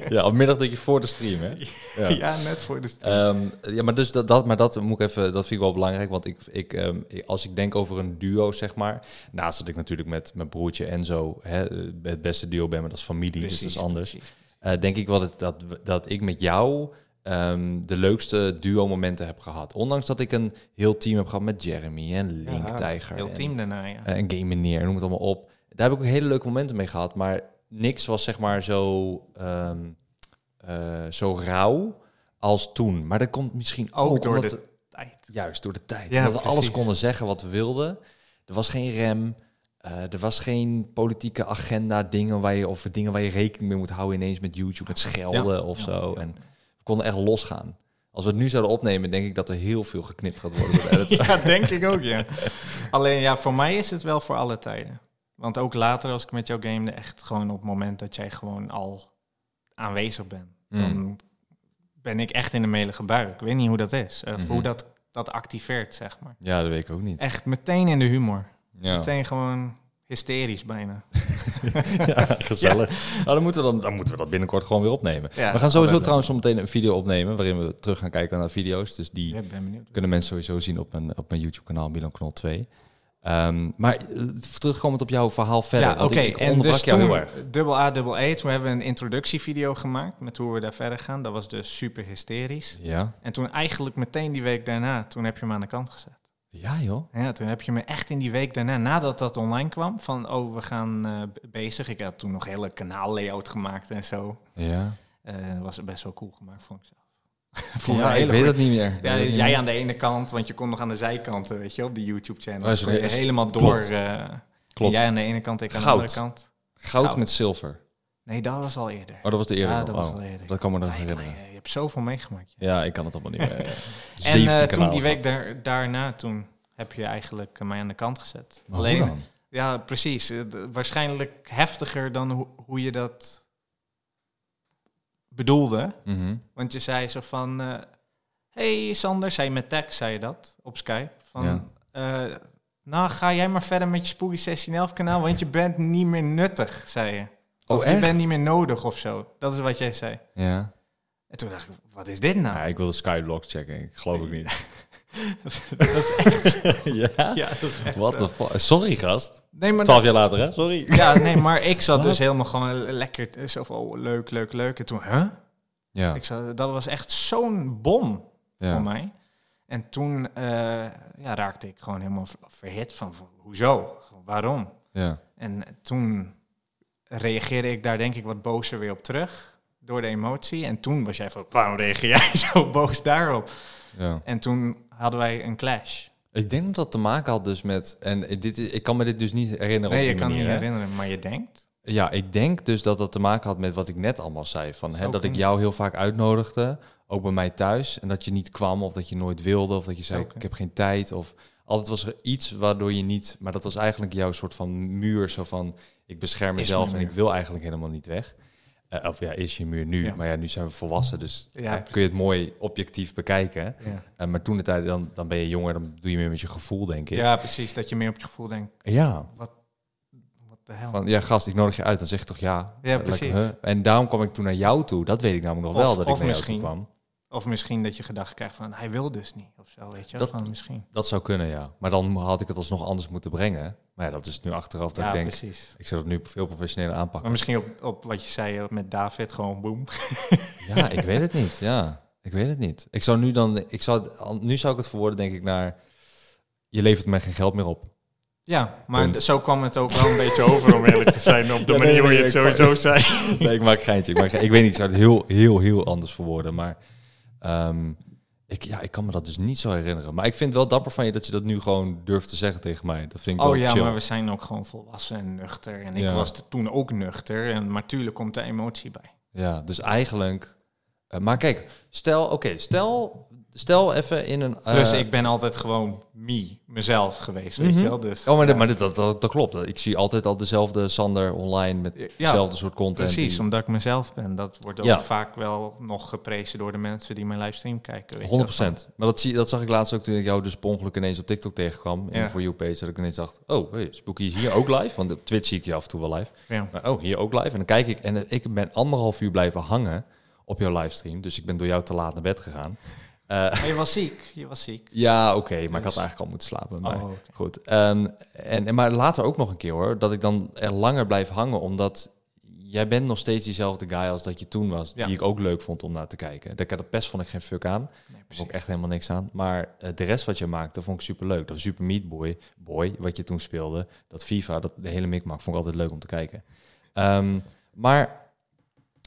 Speaker 1: ja, op middag dat je voor de stream, hè?
Speaker 2: doen.
Speaker 1: Ja.
Speaker 2: Ja, net voor de st-
Speaker 1: Ehm, ja, maar, dus dat, dat, maar dat, moet ik even, dat vind ik wel belangrijk. Want ik, ik, ehm, ik- als ik denk over een duo, zeg maar. Naast dat ik natuurlijk met mijn broertje Enzo hè, eh, het beste duo ben, maar dat is familie, dus dat is anders.
Speaker 2: precies.
Speaker 1: Eh, denk ik wel dat, dat, dat ik met jou ehm, de leukste duo-momenten heb gehad. Ondanks dat ik een heel team heb gehad met Jeremy en Link
Speaker 2: Ja,
Speaker 1: Tiger.
Speaker 2: Heel
Speaker 1: en-
Speaker 2: team daarna, ja.
Speaker 1: eh, en game meneer, noem het allemaal op. Daar heb ik ook hele leuke momenten mee gehad, maar niks was zeg maar zo, ehm, eh, zo rauw als toen. Maar dat komt misschien ook,
Speaker 2: Ook door
Speaker 1: Oh, omdat,
Speaker 2: de tijd.
Speaker 1: juist door de tijd.
Speaker 2: Ja,
Speaker 1: omdat we
Speaker 2: precies.
Speaker 1: alles konden zeggen wat we wilden. Er was geen rem, eh, er was geen politieke agenda, dingen waar je, of dingen waar je rekening mee moet houden ineens met YouTube, met schelden of
Speaker 2: Ja.
Speaker 1: zo. En we konden echt losgaan. Als we het nu zouden opnemen, denk ik dat er heel veel geknipt gaat worden. door de editor.
Speaker 2: Ja, denk ik ook, ja. Alleen ja, voor mij is het wel voor alle tijden. Want ook later als ik met jou gamede, echt gewoon op het moment dat jij gewoon al aanwezig bent,
Speaker 1: Mm.
Speaker 2: dan ben ik echt in de melige bui. Ik weet niet hoe dat is, of
Speaker 1: Mhm.
Speaker 2: hoe dat, dat activeert, zeg maar.
Speaker 1: Ja, dat weet ik ook niet.
Speaker 2: Echt meteen in de humor.
Speaker 1: Ja.
Speaker 2: Meteen gewoon hysterisch bijna.
Speaker 1: Ja, gezellig. Nou, dan, moeten we dan, dan moeten we dat binnenkort gewoon weer opnemen.
Speaker 2: Ja,
Speaker 1: we gaan sowieso
Speaker 2: altijd
Speaker 1: trouwens zometeen een video opnemen waarin we terug gaan kijken naar video's. Dus die
Speaker 2: leuk. Ja, ik ben benieuwd.
Speaker 1: kunnen mensen sowieso zien op mijn, op mijn YouTube-kanaal Milan Knol 2. Ehm, maar eh, terugkomend op jouw verhaal verder.
Speaker 2: Ja, oké.
Speaker 1: want ik- ik
Speaker 2: En
Speaker 1: onderbrak
Speaker 2: dus
Speaker 1: jou heel
Speaker 2: toen,
Speaker 1: erg.
Speaker 2: dubbel A, dubbel E, toen hebben we een introductievideo gemaakt met hoe we daar verder gaan. Dat was dus super hysterisch.
Speaker 1: Ja?
Speaker 2: En toen eigenlijk meteen die week daarna, toen heb je me aan de kant gezet.
Speaker 1: ja, joh.
Speaker 2: Ja, toen heb je me echt in die week daarna, nadat dat online kwam, van oh, we gaan eh, b- bezig. Ik had toen nog hele kanaallayout gemaakt en zo.
Speaker 1: Ja, eh
Speaker 2: Eh was best wel cool gemaakt, vond ik zelf. Vond ik
Speaker 1: ja
Speaker 2: een hele
Speaker 1: ik weet
Speaker 2: goeie-
Speaker 1: dat niet meer. Ik
Speaker 2: Ja,
Speaker 1: weet dat niet
Speaker 2: jij
Speaker 1: meer.
Speaker 2: aan de ene kant, want je kon nog aan de zijkanten, weet je, op die YouTube-channel.
Speaker 1: Oh,
Speaker 2: Dus
Speaker 1: zo,
Speaker 2: kon je
Speaker 1: is-
Speaker 2: helemaal door.
Speaker 1: klopt.
Speaker 2: eh, en
Speaker 1: Klopt.
Speaker 2: Jij aan de ene kant, ik aan
Speaker 1: Goud.
Speaker 2: de andere kant.
Speaker 1: Goud,
Speaker 2: Goud.
Speaker 1: met zilver.
Speaker 2: Nee, dat was al eerder.
Speaker 1: Oh, dat was de eerder.
Speaker 2: ja,
Speaker 1: al.
Speaker 2: dat was
Speaker 1: Oh,
Speaker 2: al eerder.
Speaker 1: dat kan me nog
Speaker 2: Tijd,
Speaker 1: herinneren.
Speaker 2: maar je- je hebt zoveel meegemaakt.
Speaker 1: Ja, ik kan het allemaal niet meer. eh,
Speaker 2: En
Speaker 1: 17
Speaker 2: eh, toen
Speaker 1: kanalen
Speaker 2: die week
Speaker 1: gehad.
Speaker 2: daar, daarna, toen heb je eigenlijk eh, mij aan de kant gezet.
Speaker 1: Maar Oh, hoe dan?
Speaker 2: ja, precies. Eh, d- Waarschijnlijk heftiger dan ho- hoe je dat bedoelde.
Speaker 1: Mhm.
Speaker 2: Want je zei zo van... eh, hey Sander, zei je met tag, zei je dat op Skype. Van,
Speaker 1: Ja.
Speaker 2: eh, nou, ga jij maar verder met je Spooky 1611 kanaal, want je bent niet meer nuttig, zei je.
Speaker 1: Oh,
Speaker 2: of
Speaker 1: echt?
Speaker 2: je bent niet meer nodig of zo. Dat is wat jij zei.
Speaker 1: Ja.
Speaker 2: En toen dacht ik, wat is dit nou?
Speaker 1: ja, ik wil de Skyblock checken. Ik geloof ik niet.
Speaker 2: dat is echt...
Speaker 1: ja?
Speaker 2: ja, dat is echt
Speaker 1: Wat
Speaker 2: zo.
Speaker 1: de fuck? Sorry, gast.
Speaker 2: Nee, maar
Speaker 1: Twaalf jaar later, hè? Sorry.
Speaker 2: Ja, nee, maar ik zat
Speaker 1: Wat?
Speaker 2: dus helemaal gewoon lekker eh, zo van, oh, leuk, leuk, leuk. En toen, huh?
Speaker 1: Ja.
Speaker 2: Ik zat, dat was echt zo'n bom voor mij. En toen eh, ja, raakte ik gewoon helemaal ver- verhit van, van, hoezo? Waarom?
Speaker 1: ja.
Speaker 2: En toen reageerde ik daar denk ik wat bozer weer op terug, door de emotie. En toen was jij van, waarom reageer jij zo boos daarop?
Speaker 1: ja.
Speaker 2: En toen hadden wij een clash.
Speaker 1: Ik denk dat dat te maken had dus met... En dit is, ik kan me dit dus niet herinneren
Speaker 2: Nee,
Speaker 1: op
Speaker 2: je
Speaker 1: die
Speaker 2: kan
Speaker 1: manier,
Speaker 2: niet
Speaker 1: hè?
Speaker 2: herinneren, maar je denkt.
Speaker 1: Ja, ik denk dus dat dat te maken had met wat ik net allemaal zei. Van, hè,
Speaker 2: Zou
Speaker 1: dat ik
Speaker 2: kunnen.
Speaker 1: jou heel vaak uitnodigde, ook bij mij thuis. En dat je niet kwam of dat je nooit wilde of dat je zei,
Speaker 2: Zou
Speaker 1: ik
Speaker 2: kunnen.
Speaker 1: heb geen tijd. Of altijd was er iets waardoor je niet... Maar dat was eigenlijk jouw soort van muur. Zo van, ik bescherm
Speaker 2: mijn
Speaker 1: mezelf en
Speaker 2: muur.
Speaker 1: ik wil eigenlijk helemaal niet weg. Eh, of ja, is je muur nu.
Speaker 2: Ja.
Speaker 1: Maar ja, nu zijn we volwassen, dus
Speaker 2: Ja,
Speaker 1: ja, kun je het
Speaker 2: precies.
Speaker 1: mooi objectief bekijken.
Speaker 2: Ja.
Speaker 1: Eh, maar toen de tijd, dan, dan ben je jonger, dan doe je meer met je gevoel, denk ik.
Speaker 2: ja, precies. Dat je meer op je gevoel denkt,
Speaker 1: Ja.
Speaker 2: wat de hell.
Speaker 1: Van, ja, gast, ik nodig je uit. Dan zeg je toch ja.
Speaker 2: Oh. Ja,
Speaker 1: Lekker,
Speaker 2: precies.
Speaker 1: hè? En daarom kwam ik toen naar jou toe. Dat weet ik namelijk nog
Speaker 2: Of-
Speaker 1: wel, dat ik
Speaker 2: of
Speaker 1: naar
Speaker 2: misschien-
Speaker 1: jou toe kwam.
Speaker 2: Of misschien dat je gedachten krijgt van hij wil dus niet of zo, weet je wel.
Speaker 1: Dat-
Speaker 2: Van misschien.
Speaker 1: Dat zou kunnen, ja. Maar dan had ik het alsnog anders moeten brengen. Maar ja, dat is nu achteraf dat
Speaker 2: ja,
Speaker 1: ik denk,
Speaker 2: precies.
Speaker 1: ik zou dat nu veel professioneler aanpakken.
Speaker 2: Maar misschien op, op wat je zei eh, met David, gewoon boem.
Speaker 1: Ja, ik weet het niet, ja. Ik weet het niet. Ik zou nu dan, ik zou, nu zou ik het verwoorden denk ik naar, je levert mij geen geld meer op.
Speaker 2: Ja, maar
Speaker 1: Punt.
Speaker 2: d- zo kwam het ook wel een beetje over, om eerlijk te zijn, op de
Speaker 1: Ja, nee,
Speaker 2: manier hoe
Speaker 1: nee,
Speaker 2: je het
Speaker 1: nee, ik-
Speaker 2: sowieso zei.
Speaker 1: Nee, ik maak geintje. Ik, maak geintje. ik weet niet, ik zou het heel, heel, heel anders verwoorden. Maar ehm, ik, ja, ik kan me dat dus niet zo herinneren. Maar ik vind het wel dapper van je dat je dat nu gewoon durft te zeggen tegen mij. Dat vind ik
Speaker 2: Oh
Speaker 1: wel
Speaker 2: ja,
Speaker 1: chill.
Speaker 2: maar we zijn ook gewoon volwassen en nuchter. En ik
Speaker 1: Ja.
Speaker 2: was er toen ook nuchter, en, maar tuurlijk komt de emotie bij.
Speaker 1: Ja, dus eigenlijk... eh, maar kijk, stel... Oké, stel... Stel even in een... eh,
Speaker 2: Plus, Dus ik ben altijd gewoon me, mezelf geweest, weet
Speaker 1: Mhm.
Speaker 2: je wel. Dus,
Speaker 1: Oh, maar,
Speaker 2: ja.
Speaker 1: dit- maar dit- dat, dat, dat klopt. Ik zie altijd al dezelfde Sander online met
Speaker 2: Ja,
Speaker 1: dezelfde soort content.
Speaker 2: Precies,
Speaker 1: die-
Speaker 2: omdat ik mezelf ben. Dat wordt ook
Speaker 1: Ja.
Speaker 2: vaak wel nog geprezen door de mensen die mijn livestream kijken. Weet je wel.
Speaker 1: 100 Maar dat, zie, dat zag ik laatst ook toen ik jou dus per ongeluk ineens op TikTok tegenkwam. En
Speaker 2: Ja.
Speaker 1: voor you page dat ik ineens dacht, oh, hey, Spooky is hier ook live. Want op Twitch zie ik je af en toe wel live.
Speaker 2: Ja.
Speaker 1: Maar oh, hier ook live. En dan kijk ik en eh, ik ben anderhalf uur blijven hangen op jouw livestream. Dus ik ben door jou te laat naar bed gegaan. Eh,
Speaker 2: Maar je was ziek, je was ziek.
Speaker 1: ja, oké, maar ik
Speaker 2: Dus-
Speaker 1: had eigenlijk al moeten slapen. Maar
Speaker 2: Oh, oké.
Speaker 1: goed. Ehm, en, en- maar later ook nog een keer hoor, dat ik dan er langer blijf hangen, omdat jij bent nog steeds diezelfde guy als dat je toen was,
Speaker 2: Ja.
Speaker 1: die ik ook leuk vond om naar te kijken. Daar dat pest vond ik geen fuck aan,
Speaker 2: Nee,
Speaker 1: daar vond
Speaker 2: precies.
Speaker 1: ik echt helemaal niks aan. Maar eh, de rest wat je maakte, vond ik super leuk. Dat Super Meat Boy, Boy, wat je toen speelde, dat FIFA, dat de hele mikmak, vond ik altijd leuk om te kijken. Ehm, maar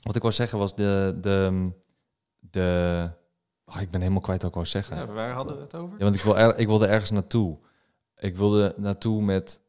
Speaker 1: wat ik wou zeggen was de de de Ah, ik ben helemaal kwijt wat ik wou zeggen.
Speaker 2: Ja, waar hadden we het over?
Speaker 1: Ja, want ik, wil er- ik wilde ergens naartoe. Ik wilde naartoe met.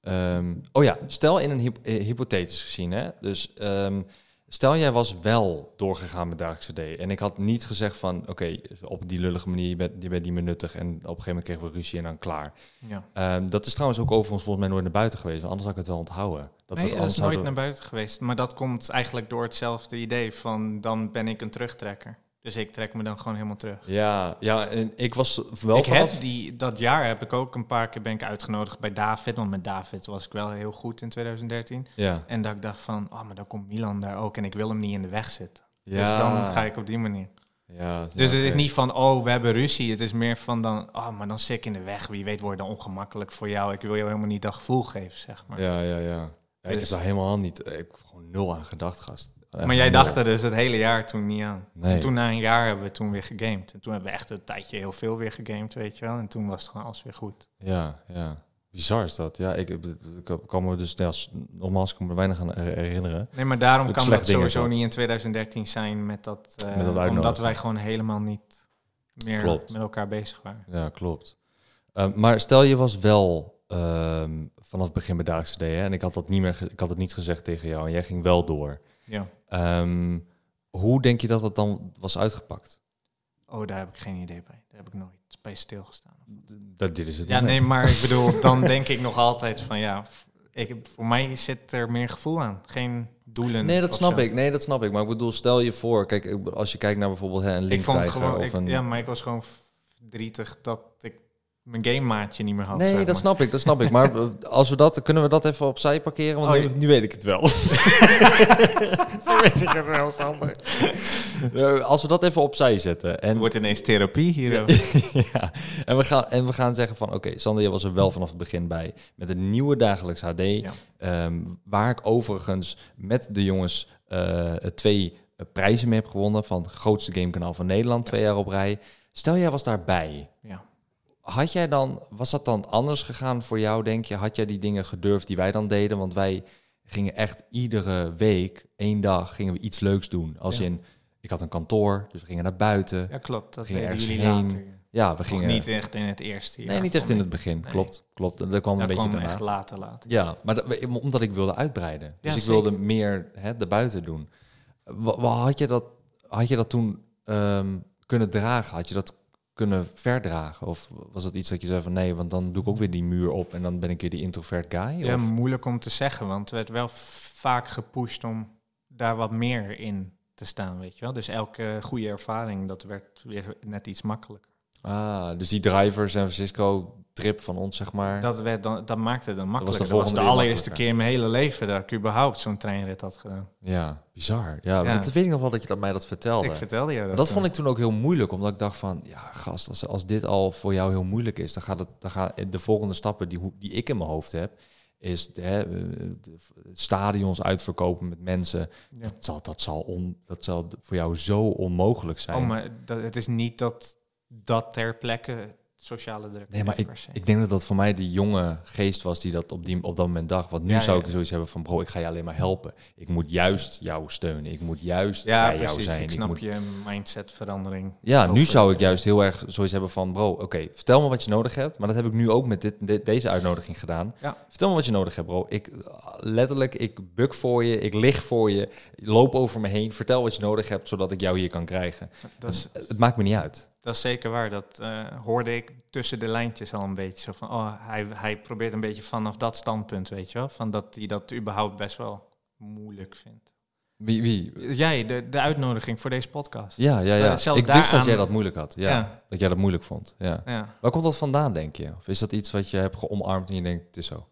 Speaker 1: ehm, oh ja, stel in een hyp- eh, hypothetisch gezien, hè? Dus ehm, stel jij was wel doorgegaan met dagelijkse D. En ik had niet gezegd van, oké, op die lullige manier, je bent, je bent niet meer nuttig. En op een gegeven moment kregen we ruzie en dan klaar.
Speaker 2: Ja.
Speaker 1: Ehm, dat is trouwens ook overigens volgens mij nooit naar buiten geweest. want Anders had ik het wel onthouden. Dat we
Speaker 2: nee, dat is
Speaker 1: anders
Speaker 2: nooit
Speaker 1: hadden-
Speaker 2: naar buiten geweest. Maar dat komt eigenlijk door hetzelfde idee van dan ben ik een terugtrekker. Dus ik trek me dan gewoon helemaal terug.
Speaker 1: Ja, ja, en ik was wel
Speaker 2: ik
Speaker 1: vanaf...
Speaker 2: heb die, dat jaar heb ik ook een paar keer ben ik uitgenodigd bij David. Want met David was ik wel heel goed in 2013.
Speaker 1: Ja,
Speaker 2: En dat ik dacht van, oh, maar dan komt Milan daar ook. En ik wil hem niet in de weg zitten.
Speaker 1: ja.
Speaker 2: Dus dan ga ik op die manier.
Speaker 1: Ja,
Speaker 2: Dus
Speaker 1: ja,
Speaker 2: het is
Speaker 1: oké.
Speaker 2: niet van, oh, we hebben ruzie. Het is meer van dan, oh, maar dan zit ik in de weg. Wie weet wordt dan ongemakkelijk voor jou. Ik wil jou helemaal niet dat gevoel geven, zeg maar.
Speaker 1: Ja, ja, ja. ja ik heb
Speaker 2: Dus-
Speaker 1: daar helemaal niet... eh, Ik heb gewoon nul aan gedacht, gast. Echt
Speaker 2: maar jij
Speaker 1: nul.
Speaker 2: dacht er dus het hele jaar toen niet aan.
Speaker 1: Nee.
Speaker 2: En toen na een jaar hebben we toen weer gegamed. En toen hebben we echt een tijdje heel veel weer gegamed, weet je wel. En toen was het gewoon alles weer goed.
Speaker 1: Ja, ja. Bizar is dat. Ja, ik, ik, ik kan me dus... Ja, s- nogmaals, ik kan me weinig aan her- herinneren.
Speaker 2: Nee, maar daarom
Speaker 1: Het
Speaker 2: kan
Speaker 1: slecht
Speaker 2: dat
Speaker 1: ding is
Speaker 2: sowieso
Speaker 1: dat.
Speaker 2: niet in 2013 zijn met dat... eh,
Speaker 1: Met dat
Speaker 2: omdat
Speaker 1: uitnodigen.
Speaker 2: wij gewoon helemaal niet meer
Speaker 1: Klopt.
Speaker 2: met elkaar bezig waren.
Speaker 1: Ja, klopt. Ehm, maar stel je was wel ehm, vanaf het begin bij Daagse D, hè, en ik had dat niet meer, ge- ik had het niet gezegd tegen jou, en jij ging wel door.
Speaker 2: Ja.
Speaker 1: Ehm, hoe denk je dat dat dan was uitgepakt?
Speaker 2: Oh, daar heb ik geen idee bij. Daar heb ik nooit bij stilgestaan.
Speaker 1: Dat dit is het.
Speaker 2: Ja, nee, maar ik bedoel, dan denk ik nog altijd van ja, f- ik, voor mij zit er meer gevoel aan. Geen doelen.
Speaker 1: Nee, dat
Speaker 2: of
Speaker 1: snap
Speaker 2: zo.
Speaker 1: ik. Nee, dat snap ik. Maar ik bedoel, stel je voor, kijk, ik- als je kijkt naar bijvoorbeeld hè, een
Speaker 2: Ik
Speaker 1: Link
Speaker 2: vond het
Speaker 1: Tiger
Speaker 2: gewoon,
Speaker 1: of
Speaker 2: ik-
Speaker 1: een.
Speaker 2: ja, maar ik was gewoon verdrietig dat ik mijn game maatje niet meer had.
Speaker 1: Nee,
Speaker 2: zeg
Speaker 1: dat
Speaker 2: maar.
Speaker 1: snap ik, dat snap ik. Maar eh, als we dat, kunnen we dat even opzij parkeren? Want
Speaker 2: Oh,
Speaker 1: nu,
Speaker 2: ja.
Speaker 1: nu weet ik het wel. Eh, Als we dat even opzij zetten. En,
Speaker 2: Wordt ineens therapie hier. ook.
Speaker 1: ja, en, we gaan, en we gaan zeggen van... Oké, Sander, je was er wel vanaf het begin bij. Met een nieuwe dagelijks HD. ehm, waar ik overigens met de jongens eh, twee eh, prijzen mee heb gewonnen. Van het grootste gamekanaal van Nederland. Twee jaar op rij. Stel, jij was daarbij.
Speaker 2: Ja.
Speaker 1: Had jij dan, was dat dan anders gegaan voor jou, denk je? Had jij die dingen gedurfd die wij dan deden? Want wij gingen echt iedere week, één dag, gingen we iets leuks doen. Als
Speaker 2: Ja.
Speaker 1: in, ik had een kantoor, dus we gingen naar buiten.
Speaker 2: ja, klopt. Dat
Speaker 1: Ging
Speaker 2: deden
Speaker 1: ergens
Speaker 2: jullie
Speaker 1: heen.
Speaker 2: later.
Speaker 1: Ja, we
Speaker 2: Toch
Speaker 1: gingen...
Speaker 2: niet echt in het eerste jaar.
Speaker 1: nee, niet echt in
Speaker 2: vond
Speaker 1: het
Speaker 2: ik.
Speaker 1: begin.
Speaker 2: Nee.
Speaker 1: Klopt, klopt. En dat kwam
Speaker 2: Dat
Speaker 1: een beetje
Speaker 2: kwam
Speaker 1: daarna.
Speaker 2: echt later, later.
Speaker 1: Ja, maar dat, omdat ik wilde uitbreiden. Dus
Speaker 2: Ja,
Speaker 1: ik wilde meer hè, erbuiten doen. Wa- wa- had, je dat, had je dat toen ehm, kunnen dragen? Had je dat kunnen verdragen? Of was dat iets dat je zei van nee, want dan doe ik ook weer die muur op en dan ben ik weer die introvert guy?
Speaker 2: Ja,
Speaker 1: of?
Speaker 2: moeilijk om te zeggen, want het werd wel vaak gepusht om daar wat meer in te staan, weet je wel. Dus elke goede ervaring, dat werd weer net iets makkelijker.
Speaker 1: Ah, dus die driver San Francisco trip van ons, zeg maar.
Speaker 2: Dat, werd dan, dat maakte het dan makkelijker. Dat was
Speaker 1: volgende
Speaker 2: de,
Speaker 1: keer
Speaker 2: allereerste
Speaker 1: makkelijker.
Speaker 2: keer in mijn hele leven dat ik überhaupt zo'n treinrit had gedaan.
Speaker 1: Ja, bizar. Ja,
Speaker 2: Ja.
Speaker 1: Dat weet ik nog wel dat je dat, mij dat vertelde.
Speaker 2: Ik vertelde je dat.
Speaker 1: Maar dat vond ik toen ook heel moeilijk, omdat ik dacht van, ja gast, als, als dit al voor jou heel moeilijk is, dan gaat het, dan gaan de volgende stappen die, hoe- die ik in mijn hoofd heb, is de, hè, de- de stadions uitverkopen met mensen.
Speaker 2: Ja.
Speaker 1: Dat, zal, dat, zal on, dat zal voor jou zo onmogelijk zijn.
Speaker 2: Oh, maar dat, het is niet dat dat ter plekke sociale druk
Speaker 1: Nee, maar
Speaker 2: is
Speaker 1: ik,
Speaker 2: per se.
Speaker 1: ik denk dat dat voor mij die jonge geest was die dat op, die, op dat moment dacht. Want nu
Speaker 2: Ja,
Speaker 1: zou
Speaker 2: ja.
Speaker 1: ik zoiets hebben van, bro, ik ga je alleen maar helpen. Ik moet juist jou steunen. Ik moet juist
Speaker 2: ja,
Speaker 1: bij jou
Speaker 2: precies.
Speaker 1: zijn.
Speaker 2: ik
Speaker 1: Ik
Speaker 2: snap
Speaker 1: moet-
Speaker 2: je mindsetverandering.
Speaker 1: Ja, nu
Speaker 2: over-
Speaker 1: zou ik juist heel erg zoiets hebben van, bro, oké, vertel me wat je nodig hebt. Maar dat heb ik nu ook met dit, de- deze uitnodiging gedaan.
Speaker 2: Ja.
Speaker 1: Vertel me wat je nodig hebt, bro. Ik, letterlijk, ik buk voor je, ik lig voor je, loop over me heen. Vertel wat je nodig hebt, zodat ik jou hier kan krijgen.
Speaker 2: Dat is,
Speaker 1: Het maakt me niet uit.
Speaker 2: dat is zeker waar. Dat eh, hoorde ik tussen de lijntjes al een beetje. Zo van, oh, hij, hij probeert een beetje vanaf dat standpunt, weet je wel. Van dat hij dat überhaupt best wel moeilijk vindt.
Speaker 1: Wie, wie?
Speaker 2: Jij, de, de uitnodiging voor deze podcast.
Speaker 1: Ja, ja,
Speaker 2: Ja,
Speaker 1: ja.
Speaker 2: zelf
Speaker 1: ik wist dat
Speaker 2: daaraan-
Speaker 1: jij dat moeilijk had. Ja,
Speaker 2: Ja.
Speaker 1: Dat jij dat moeilijk vond, ja.
Speaker 2: Ja.
Speaker 1: Waar komt dat vandaan, denk je? Of is dat iets wat je hebt geomarmd en je denkt, het is zo?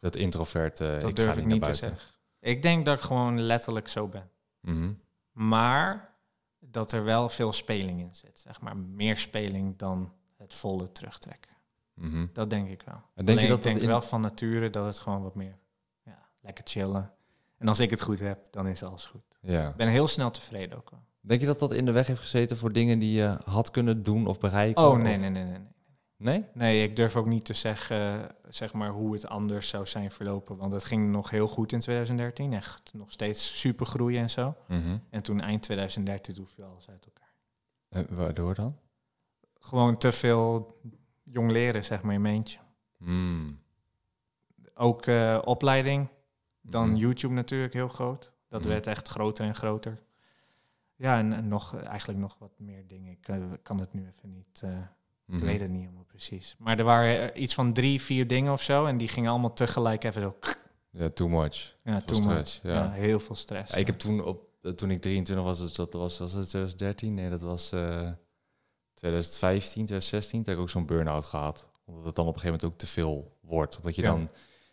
Speaker 1: Dat introvert, eh,
Speaker 2: Dat
Speaker 1: ik ga
Speaker 2: durf
Speaker 1: niet
Speaker 2: ik
Speaker 1: naar
Speaker 2: niet te
Speaker 1: buiten.
Speaker 2: zeggen. Ik denk dat ik gewoon letterlijk zo ben.
Speaker 1: Mhm.
Speaker 2: Maar dat er wel veel speling in zit. Zeg maar meer speling dan het volle terugtrekken.
Speaker 1: mhm.
Speaker 2: Dat denk ik wel.
Speaker 1: En
Speaker 2: Denk
Speaker 1: denk je dat
Speaker 2: ik denk
Speaker 1: dat in...
Speaker 2: wel van nature dat het gewoon wat meer ja, lekker chillen. En als ik het goed heb, dan is alles goed.
Speaker 1: Ja.
Speaker 2: Ik ben heel snel tevreden ook wel.
Speaker 1: Denk je dat dat in de weg heeft gezeten voor dingen die je had kunnen doen of bereiken?
Speaker 2: Oh
Speaker 1: Of-
Speaker 2: nee, nee, nee, nee. nee.
Speaker 1: Nee?
Speaker 2: Nee, ik durf ook niet te zeggen eh, zeg maar, hoe het anders zou zijn verlopen. Want het ging nog heel goed in 2013. Echt nog steeds super groeien en zo.
Speaker 1: Mhm.
Speaker 2: En toen eind 2013 toen viel alles uit elkaar.
Speaker 1: Eh, waardoor dan?
Speaker 2: Gewoon te veel jong leren, zeg maar, in mijn eentje.
Speaker 1: Mm.
Speaker 2: Ook eh, opleiding. Dan
Speaker 1: Mhm.
Speaker 2: YouTube natuurlijk heel groot. Dat
Speaker 1: Mhm.
Speaker 2: werd echt groter en groter. Ja, en, en nog, eh, eigenlijk nog wat meer dingen. Ik eh, kan het nu even niet. eh,
Speaker 1: Mhm.
Speaker 2: Ik weet het niet helemaal precies. Maar er waren eh, iets van drie, vier dingen of zo. En die gingen allemaal tegelijk even zo.
Speaker 1: Ja, too much.
Speaker 2: Ja,
Speaker 1: Veel
Speaker 2: toen maar.
Speaker 1: stress,
Speaker 2: Ja.
Speaker 1: ja.
Speaker 2: heel veel stress.
Speaker 1: Ja, ik heb toen, op, eh, toen ik 23 was, dus dat was, was het 2013? Nee, dat was eh 2015, 2016. Toen heb ik ook zo'n burn-out gehad. Omdat het dan op een gegeven moment ook te veel wordt. Omdat je
Speaker 2: Ja.
Speaker 1: dan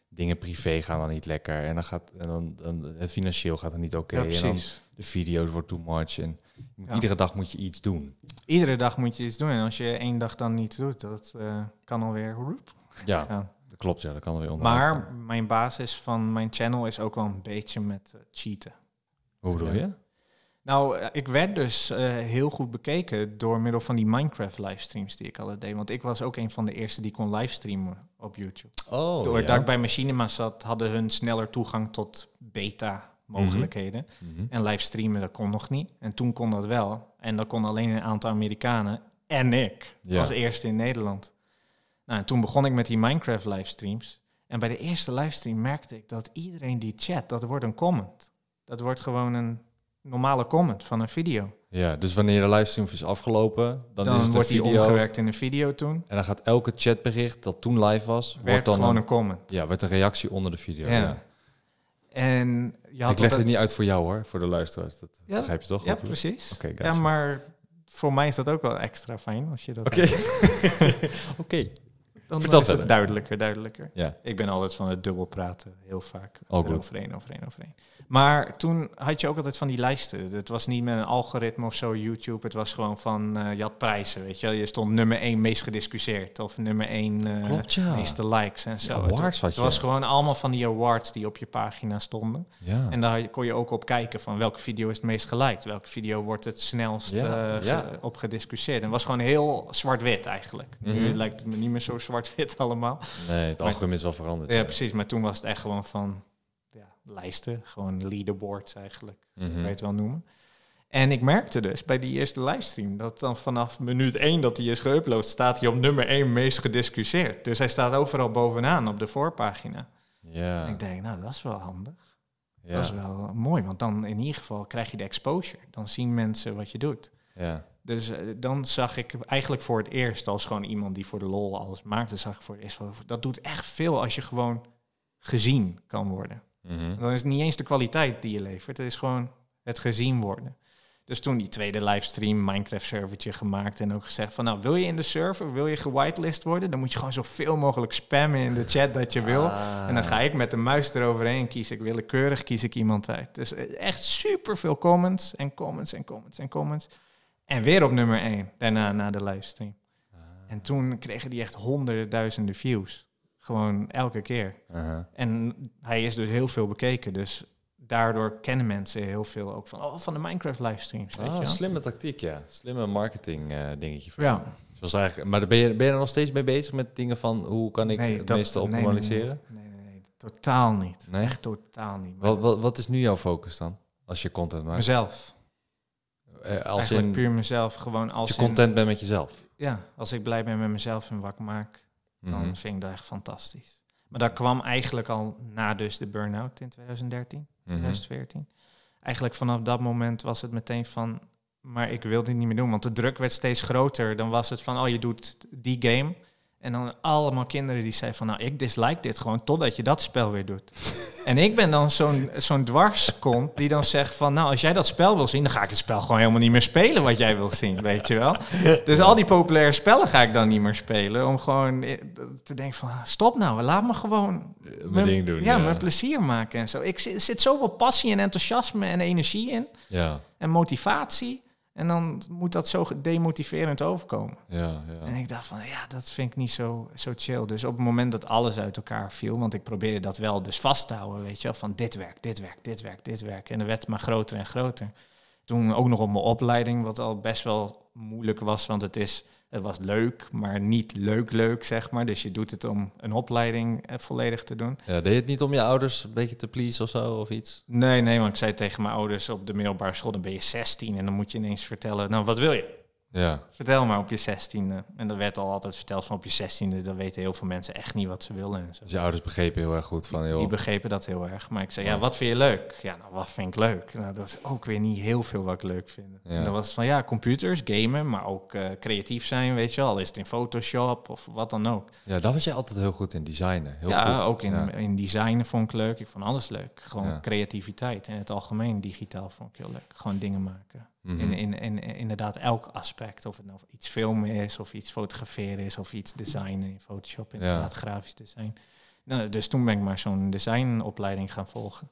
Speaker 1: dingen privé gaan dan niet lekker. En dan gaat en dan, dan het financieel gaat dan niet oké.
Speaker 2: Ja,
Speaker 1: en dan
Speaker 2: precies.
Speaker 1: de video's wordt too much. En je moet-
Speaker 2: Ja.
Speaker 1: iedere dag moet je iets doen.
Speaker 2: Iedere dag moet je iets doen. En als je één dag dan niet doet, dat eh, kan alweer. roep
Speaker 1: Ja,
Speaker 2: gaan.
Speaker 1: dat klopt. Ja, dat kan er weer onderuit gaan.
Speaker 2: Maar mijn basis van mijn channel is ook wel een beetje met eh, cheaten.
Speaker 1: Hoe bedoel
Speaker 2: Ja.
Speaker 1: je?
Speaker 2: Nou, eh, ik werd dus eh, heel goed bekeken door middel van die Minecraft livestreams die ik altijd deed. Want ik was ook een van de eerste die kon livestreamen op YouTube.
Speaker 1: Oh,
Speaker 2: Doordat
Speaker 1: ja.
Speaker 2: ik bij Machinima zat, hadden hun sneller toegang tot beta-mogelijkheden.
Speaker 1: Mhm.
Speaker 2: En livestreamen, dat kon nog niet. En toen kon dat wel. En dat kon alleen een aantal Amerikanen en ik
Speaker 1: Ja.
Speaker 2: als eerste in Nederland. Nou, en toen begon ik met die Minecraft livestreams. En bij de eerste livestream merkte ik dat iedereen die chat, dat wordt een comment. Dat wordt gewoon een normale comment van een video.
Speaker 1: Ja, dus wanneer de livestream is afgelopen, dan,
Speaker 2: Dan,
Speaker 1: is het
Speaker 2: wordt
Speaker 1: een
Speaker 2: die
Speaker 1: video.
Speaker 2: omgewerkt in een video toen.
Speaker 1: En dan gaat elke chatbericht dat toen live was, wordt
Speaker 2: Werd
Speaker 1: dan
Speaker 2: gewoon
Speaker 1: een
Speaker 2: een, comment.
Speaker 1: Ja, werd een reactie onder de video.
Speaker 2: Ja.
Speaker 1: Ja.
Speaker 2: En je had
Speaker 1: Ik leg
Speaker 2: altijd-
Speaker 1: het niet uit voor jou hoor, voor de luisteraars. Dat
Speaker 2: Ja,
Speaker 1: begrijp je toch?
Speaker 2: Ja,
Speaker 1: hopelijk?
Speaker 2: precies.
Speaker 1: Oké, gotcha.
Speaker 2: Ja, maar voor mij is dat ook wel extra fijn als je dat
Speaker 1: Oké. Oké.
Speaker 2: Dan
Speaker 1: Vertel
Speaker 2: is
Speaker 1: verder.
Speaker 2: het duidelijker, duidelijker.
Speaker 1: Ja.
Speaker 2: Ik ben altijd van het dubbel praten, heel vaak.
Speaker 1: All good.
Speaker 2: overeen, overeen, overeen. Maar toen had je ook altijd van die lijsten. Het was niet met een algoritme of zo, YouTube. Het was gewoon van, eh, je had prijzen, weet je. wel. Je stond nummer één meest gediscussieerd of nummer één eh,
Speaker 1: Klopt, ja.
Speaker 2: meeste likes en zo.
Speaker 1: awards had
Speaker 2: het,
Speaker 1: je.
Speaker 2: het was gewoon allemaal van die awards die op je pagina stonden.
Speaker 1: Ja.
Speaker 2: En daar kon je ook op kijken van welke video is het meest geliked. Welke video wordt het snelst
Speaker 1: Ja,
Speaker 2: eh, ge-
Speaker 1: ja.
Speaker 2: op gediscussieerd. En het was gewoon heel zwart-wit eigenlijk. Nu
Speaker 1: Mhm.
Speaker 2: lijkt het me niet meer zo zwart-wit allemaal.
Speaker 1: Nee, het algoritme is wel veranderd.
Speaker 2: Ja, precies. Maar toen was het echt gewoon van ja, lijsten. Gewoon leaderboards eigenlijk. Zo
Speaker 1: Mhm.
Speaker 2: kan je het wel noemen. En ik merkte dus bij die eerste livestream dat dan vanaf minuut 1 dat hij is geüpload, staat hij op nummer 1 meest gediscussieerd. Dus hij staat overal bovenaan op de voorpagina.
Speaker 1: Ja.
Speaker 2: En ik denk, nou dat is wel handig.
Speaker 1: ja.
Speaker 2: Dat is wel mooi, want dan in ieder geval krijg je de exposure. Dan zien mensen wat je doet.
Speaker 1: ja.
Speaker 2: Dus eh, dan zag ik eigenlijk voor het eerst, als gewoon iemand die voor de lol alles maakte, zag ik voor het eerst van, dat doet echt veel als je gewoon gezien kan worden.
Speaker 1: Mhm.
Speaker 2: Dan is het niet eens de kwaliteit die je levert, het is gewoon het gezien worden. Dus toen die tweede livestream, Minecraft servertje gemaakt en ook gezegd van, nou wil je in de server, wil je gewitelist worden, dan moet je gewoon zoveel mogelijk spammen in de chat dat je wil.
Speaker 1: Ah.
Speaker 2: En dan ga ik met de muis eroverheen kiezen. Ik willekeurig kies ik iemand uit. Dus eh, echt super veel comments en comments en comments en comments. En weer op nummer
Speaker 1: Ah.
Speaker 2: 1, daarna na de livestream. En toen kregen die echt honderden duizenden views. Gewoon elke keer.
Speaker 1: Ah, Aha.
Speaker 2: En hij is dus heel veel bekeken. Dus daardoor kennen mensen heel veel ook van, oh, van de Minecraft livestreams. Weet je
Speaker 1: Ah,
Speaker 2: wel.
Speaker 1: slimme tactiek, ja. Slimme marketing eh, dingetje. voor
Speaker 2: Ja,
Speaker 1: Dus was eigenlijk, maar ben je, ben je er nog steeds mee bezig met dingen van hoe kan ik
Speaker 2: Nee,
Speaker 1: het
Speaker 2: dat-
Speaker 1: meeste
Speaker 2: nee, nee,
Speaker 1: optimaliseren?
Speaker 2: nee, nee, nee, totaal niet.
Speaker 1: Nee?
Speaker 2: Echt totaal niet. Maar
Speaker 1: Wat, wat, wat is nu jouw focus dan? Als je content maakt?
Speaker 2: mezelf.
Speaker 1: Eh, als je,
Speaker 2: Eigenlijk
Speaker 1: in-
Speaker 2: puur mezelf. Gewoon als,
Speaker 1: als je
Speaker 2: in-
Speaker 1: content bent met jezelf.
Speaker 2: ja, als ik blij ben met mezelf en wat ik maak, dan
Speaker 1: Mhm.
Speaker 2: vind ik dat echt fantastisch. Maar dat kwam eigenlijk al na dus de burn-out in 2013,
Speaker 1: Mhm.
Speaker 2: 2014. Eigenlijk vanaf dat moment was het meteen van, maar ik wil dit niet meer doen. Want de druk werd steeds groter. Dan was het van, oh je doet die game. En dan allemaal kinderen die zeiden van, nou ik dislike dit gewoon totdat je dat spel weer doet. en ik ben dan zo'n zo'n dwarskont die dan zegt van, nou als jij dat spel wil zien, dan ga ik het spel gewoon helemaal niet meer spelen wat jij wil zien, weet je wel. Dus al die populaire spellen ga ik dan niet meer spelen. Om gewoon eh, te denken van, ah, stop nou, laat me gewoon...
Speaker 1: mijn ding doen,
Speaker 2: Ja,
Speaker 1: ja.
Speaker 2: mijn plezier maken en zo. Ik zit, zit zoveel passie en enthousiasme en energie in.
Speaker 1: Ja,
Speaker 2: En motivatie. En dan moet dat zo demotiverend overkomen.
Speaker 1: ja,
Speaker 2: En
Speaker 1: ja.
Speaker 2: ik dacht van, ja, dat vind ik niet zo, zo chill. Dus op het moment dat alles uit elkaar viel... want ik probeerde dat wel dus vast te houden, weet je wel... van dit werk, dit werk, dit werk, dit werk. En dat werd maar groter en groter. Toen ook nog op mijn opleiding, wat al best wel moeilijk was... want het, is, het was leuk, maar niet leuk leuk, zeg maar. Dus je doet het om een opleiding eh, volledig te doen.
Speaker 1: ja. Deed je het niet om je ouders een beetje te please of zo of iets?
Speaker 2: Nee, nee, want ik zei tegen mijn ouders op de middelbare school... dan ben je 16 en dan moet je ineens vertellen... nou, wat wil je?
Speaker 1: Ja.
Speaker 2: Vertel maar op je zestiende. En dat werd al altijd verteld van op je zestiende. Dan weten heel veel mensen echt niet wat ze willen. En zo.
Speaker 1: Dus je ouders begrepen heel erg goed van, joh.
Speaker 2: Die begrepen dat heel erg. Maar ik zei, ja, wat vind je leuk? Ja, nou, wat vind ik leuk? Nou, dat is ook weer niet heel veel wat ik leuk vind.
Speaker 1: Ja.
Speaker 2: En dan was het van, ja, computers, gamen, maar ook eh, creatief zijn, weet je wel. Al Is het in Photoshop of wat dan ook.
Speaker 1: Ja, daar was je altijd heel goed in designen. Heel
Speaker 2: ja,
Speaker 1: vroeg.
Speaker 2: ook in,
Speaker 1: Ja.
Speaker 2: in designen vond ik leuk. Ik vond alles leuk. Gewoon
Speaker 1: Ja.
Speaker 2: creativiteit in het algemeen. Digitaal vond ik heel leuk. Gewoon dingen maken.
Speaker 1: Mhm.
Speaker 2: In, in, in, in- inderdaad elk aspect. Of het nou iets filmen is, of iets fotograferen is, of iets designen in Photoshop, inderdaad grafisch design. Nou, dus toen ben ik maar zo'n designopleiding gaan volgen.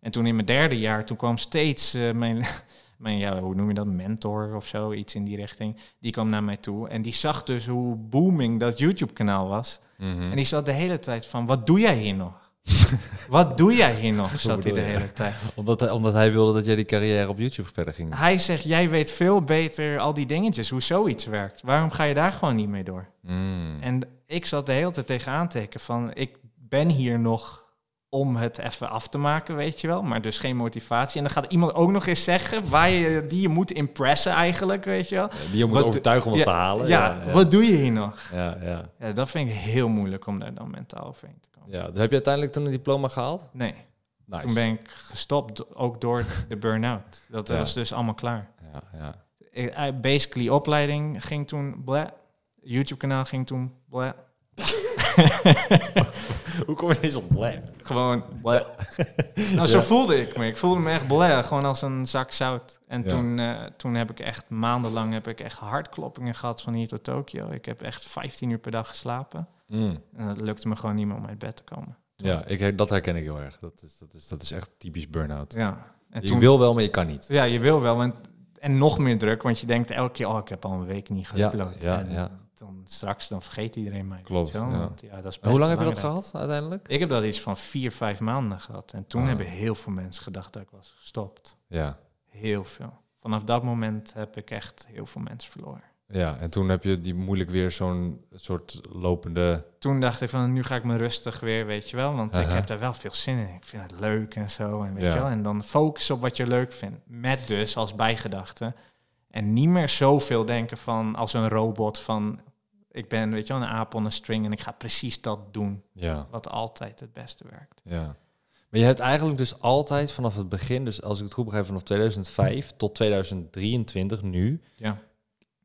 Speaker 2: En toen in mijn derde jaar, toen kwam steeds eh, mijn, mijn ja, hoe noem je dat, mentor of zo, iets in die richting. Die kwam naar mij toe en die zag dus hoe booming dat YouTube-kanaal was.
Speaker 1: Mhm.
Speaker 2: En die zat de hele tijd van, wat doe jij hier nog? wat doe jij hier nog, zat hij de
Speaker 1: bedoel je?
Speaker 2: hele tijd.
Speaker 1: Omdat, hij, omdat hij wilde dat jij die carrière op YouTube verder ging.
Speaker 2: Hij zegt, jij weet veel beter al die dingetjes, hoe zoiets werkt. Waarom ga je daar gewoon niet mee door?
Speaker 1: Mm.
Speaker 2: En ik zat de hele tijd tegenaan te hikken van, ik ben hier nog om het even af te maken, weet je wel. Maar dus geen motivatie. En dan gaat iemand ook nog eens zeggen waar je, die je moet impressen eigenlijk, weet je wel.
Speaker 1: Die je moet
Speaker 2: Wat-
Speaker 1: overtuigen om het
Speaker 2: ja,
Speaker 1: te halen.
Speaker 2: ja,
Speaker 1: ja,
Speaker 2: wat doe je hier nog?
Speaker 1: ja, ja.
Speaker 2: Ja, dat vind ik heel moeilijk om daar dan mentaal overheen te komen.
Speaker 1: Ja, heb je uiteindelijk toen een diploma gehaald?
Speaker 2: Nee,
Speaker 1: Nice.
Speaker 2: toen ben ik gestopt, ook door de burn-out. Dat
Speaker 1: Ja.
Speaker 2: was dus allemaal klaar.
Speaker 1: Ja, ja.
Speaker 2: Eh, basically opleiding ging toen bleh. YouTube kanaal ging toen bleh.
Speaker 1: Hoe kom je deze op blij?
Speaker 2: Gewoon bleh. nou, zo voelde ik me. Ik voelde me echt bleh, gewoon als een zak zout. En
Speaker 1: Ja.
Speaker 2: toen, eh, toen heb ik echt maandenlang heb ik echt hartkloppingen gehad van hier tot Tokio. Ik heb echt 15 uur per dag geslapen. En het lukte me gewoon niet meer om uit bed te komen.
Speaker 1: Mm, Ja, ik, dat herken ik heel erg. Dat is, dat is, dat is echt typisch burn-out.
Speaker 2: Ja. En
Speaker 1: Je wil wel, maar je kan niet.
Speaker 2: Ja, je wil wel. Want, en nog meer druk, want je denkt elke keer, oh, ik heb al een week niet
Speaker 1: Ja,
Speaker 2: geüpload.
Speaker 1: ja,
Speaker 2: En
Speaker 1: ja.
Speaker 2: Dan, straks dan vergeet iedereen mij.
Speaker 1: Klopt,
Speaker 2: weet je wel,
Speaker 1: ja.
Speaker 2: want, ja, dat is
Speaker 1: En hoe
Speaker 2: best
Speaker 1: lang heb je dat
Speaker 2: belangrijk.
Speaker 1: gehad uiteindelijk?
Speaker 2: Ik heb dat iets van vier, vijf maanden gehad. En toen
Speaker 1: Ah.
Speaker 2: hebben heel veel mensen gedacht dat ik was gestopt.
Speaker 1: Ja.
Speaker 2: Heel veel. Vanaf dat moment heb ik echt heel veel mensen verloren.
Speaker 1: ja, en toen heb je die moeilijk weer zo'n soort lopende...
Speaker 2: Toen dacht ik van, nu ga ik me rustig weer, weet je wel. Want ik
Speaker 1: Aha.
Speaker 2: heb daar wel veel zin in. Ik vind het leuk en zo. En, weet
Speaker 1: Ja.
Speaker 2: je wel? en dan focus op wat je leuk vindt. Met dus als bijgedachte. En niet meer zoveel denken van als een robot van... Ik ben, weet je wel, een aap on een string en ik ga precies dat doen.
Speaker 1: Ja,
Speaker 2: Wat altijd het beste werkt.
Speaker 1: ja. Maar je hebt eigenlijk dus altijd vanaf het begin, dus als ik het goed begrijp, vanaf 2005 tot 2023 nu,
Speaker 2: Ja.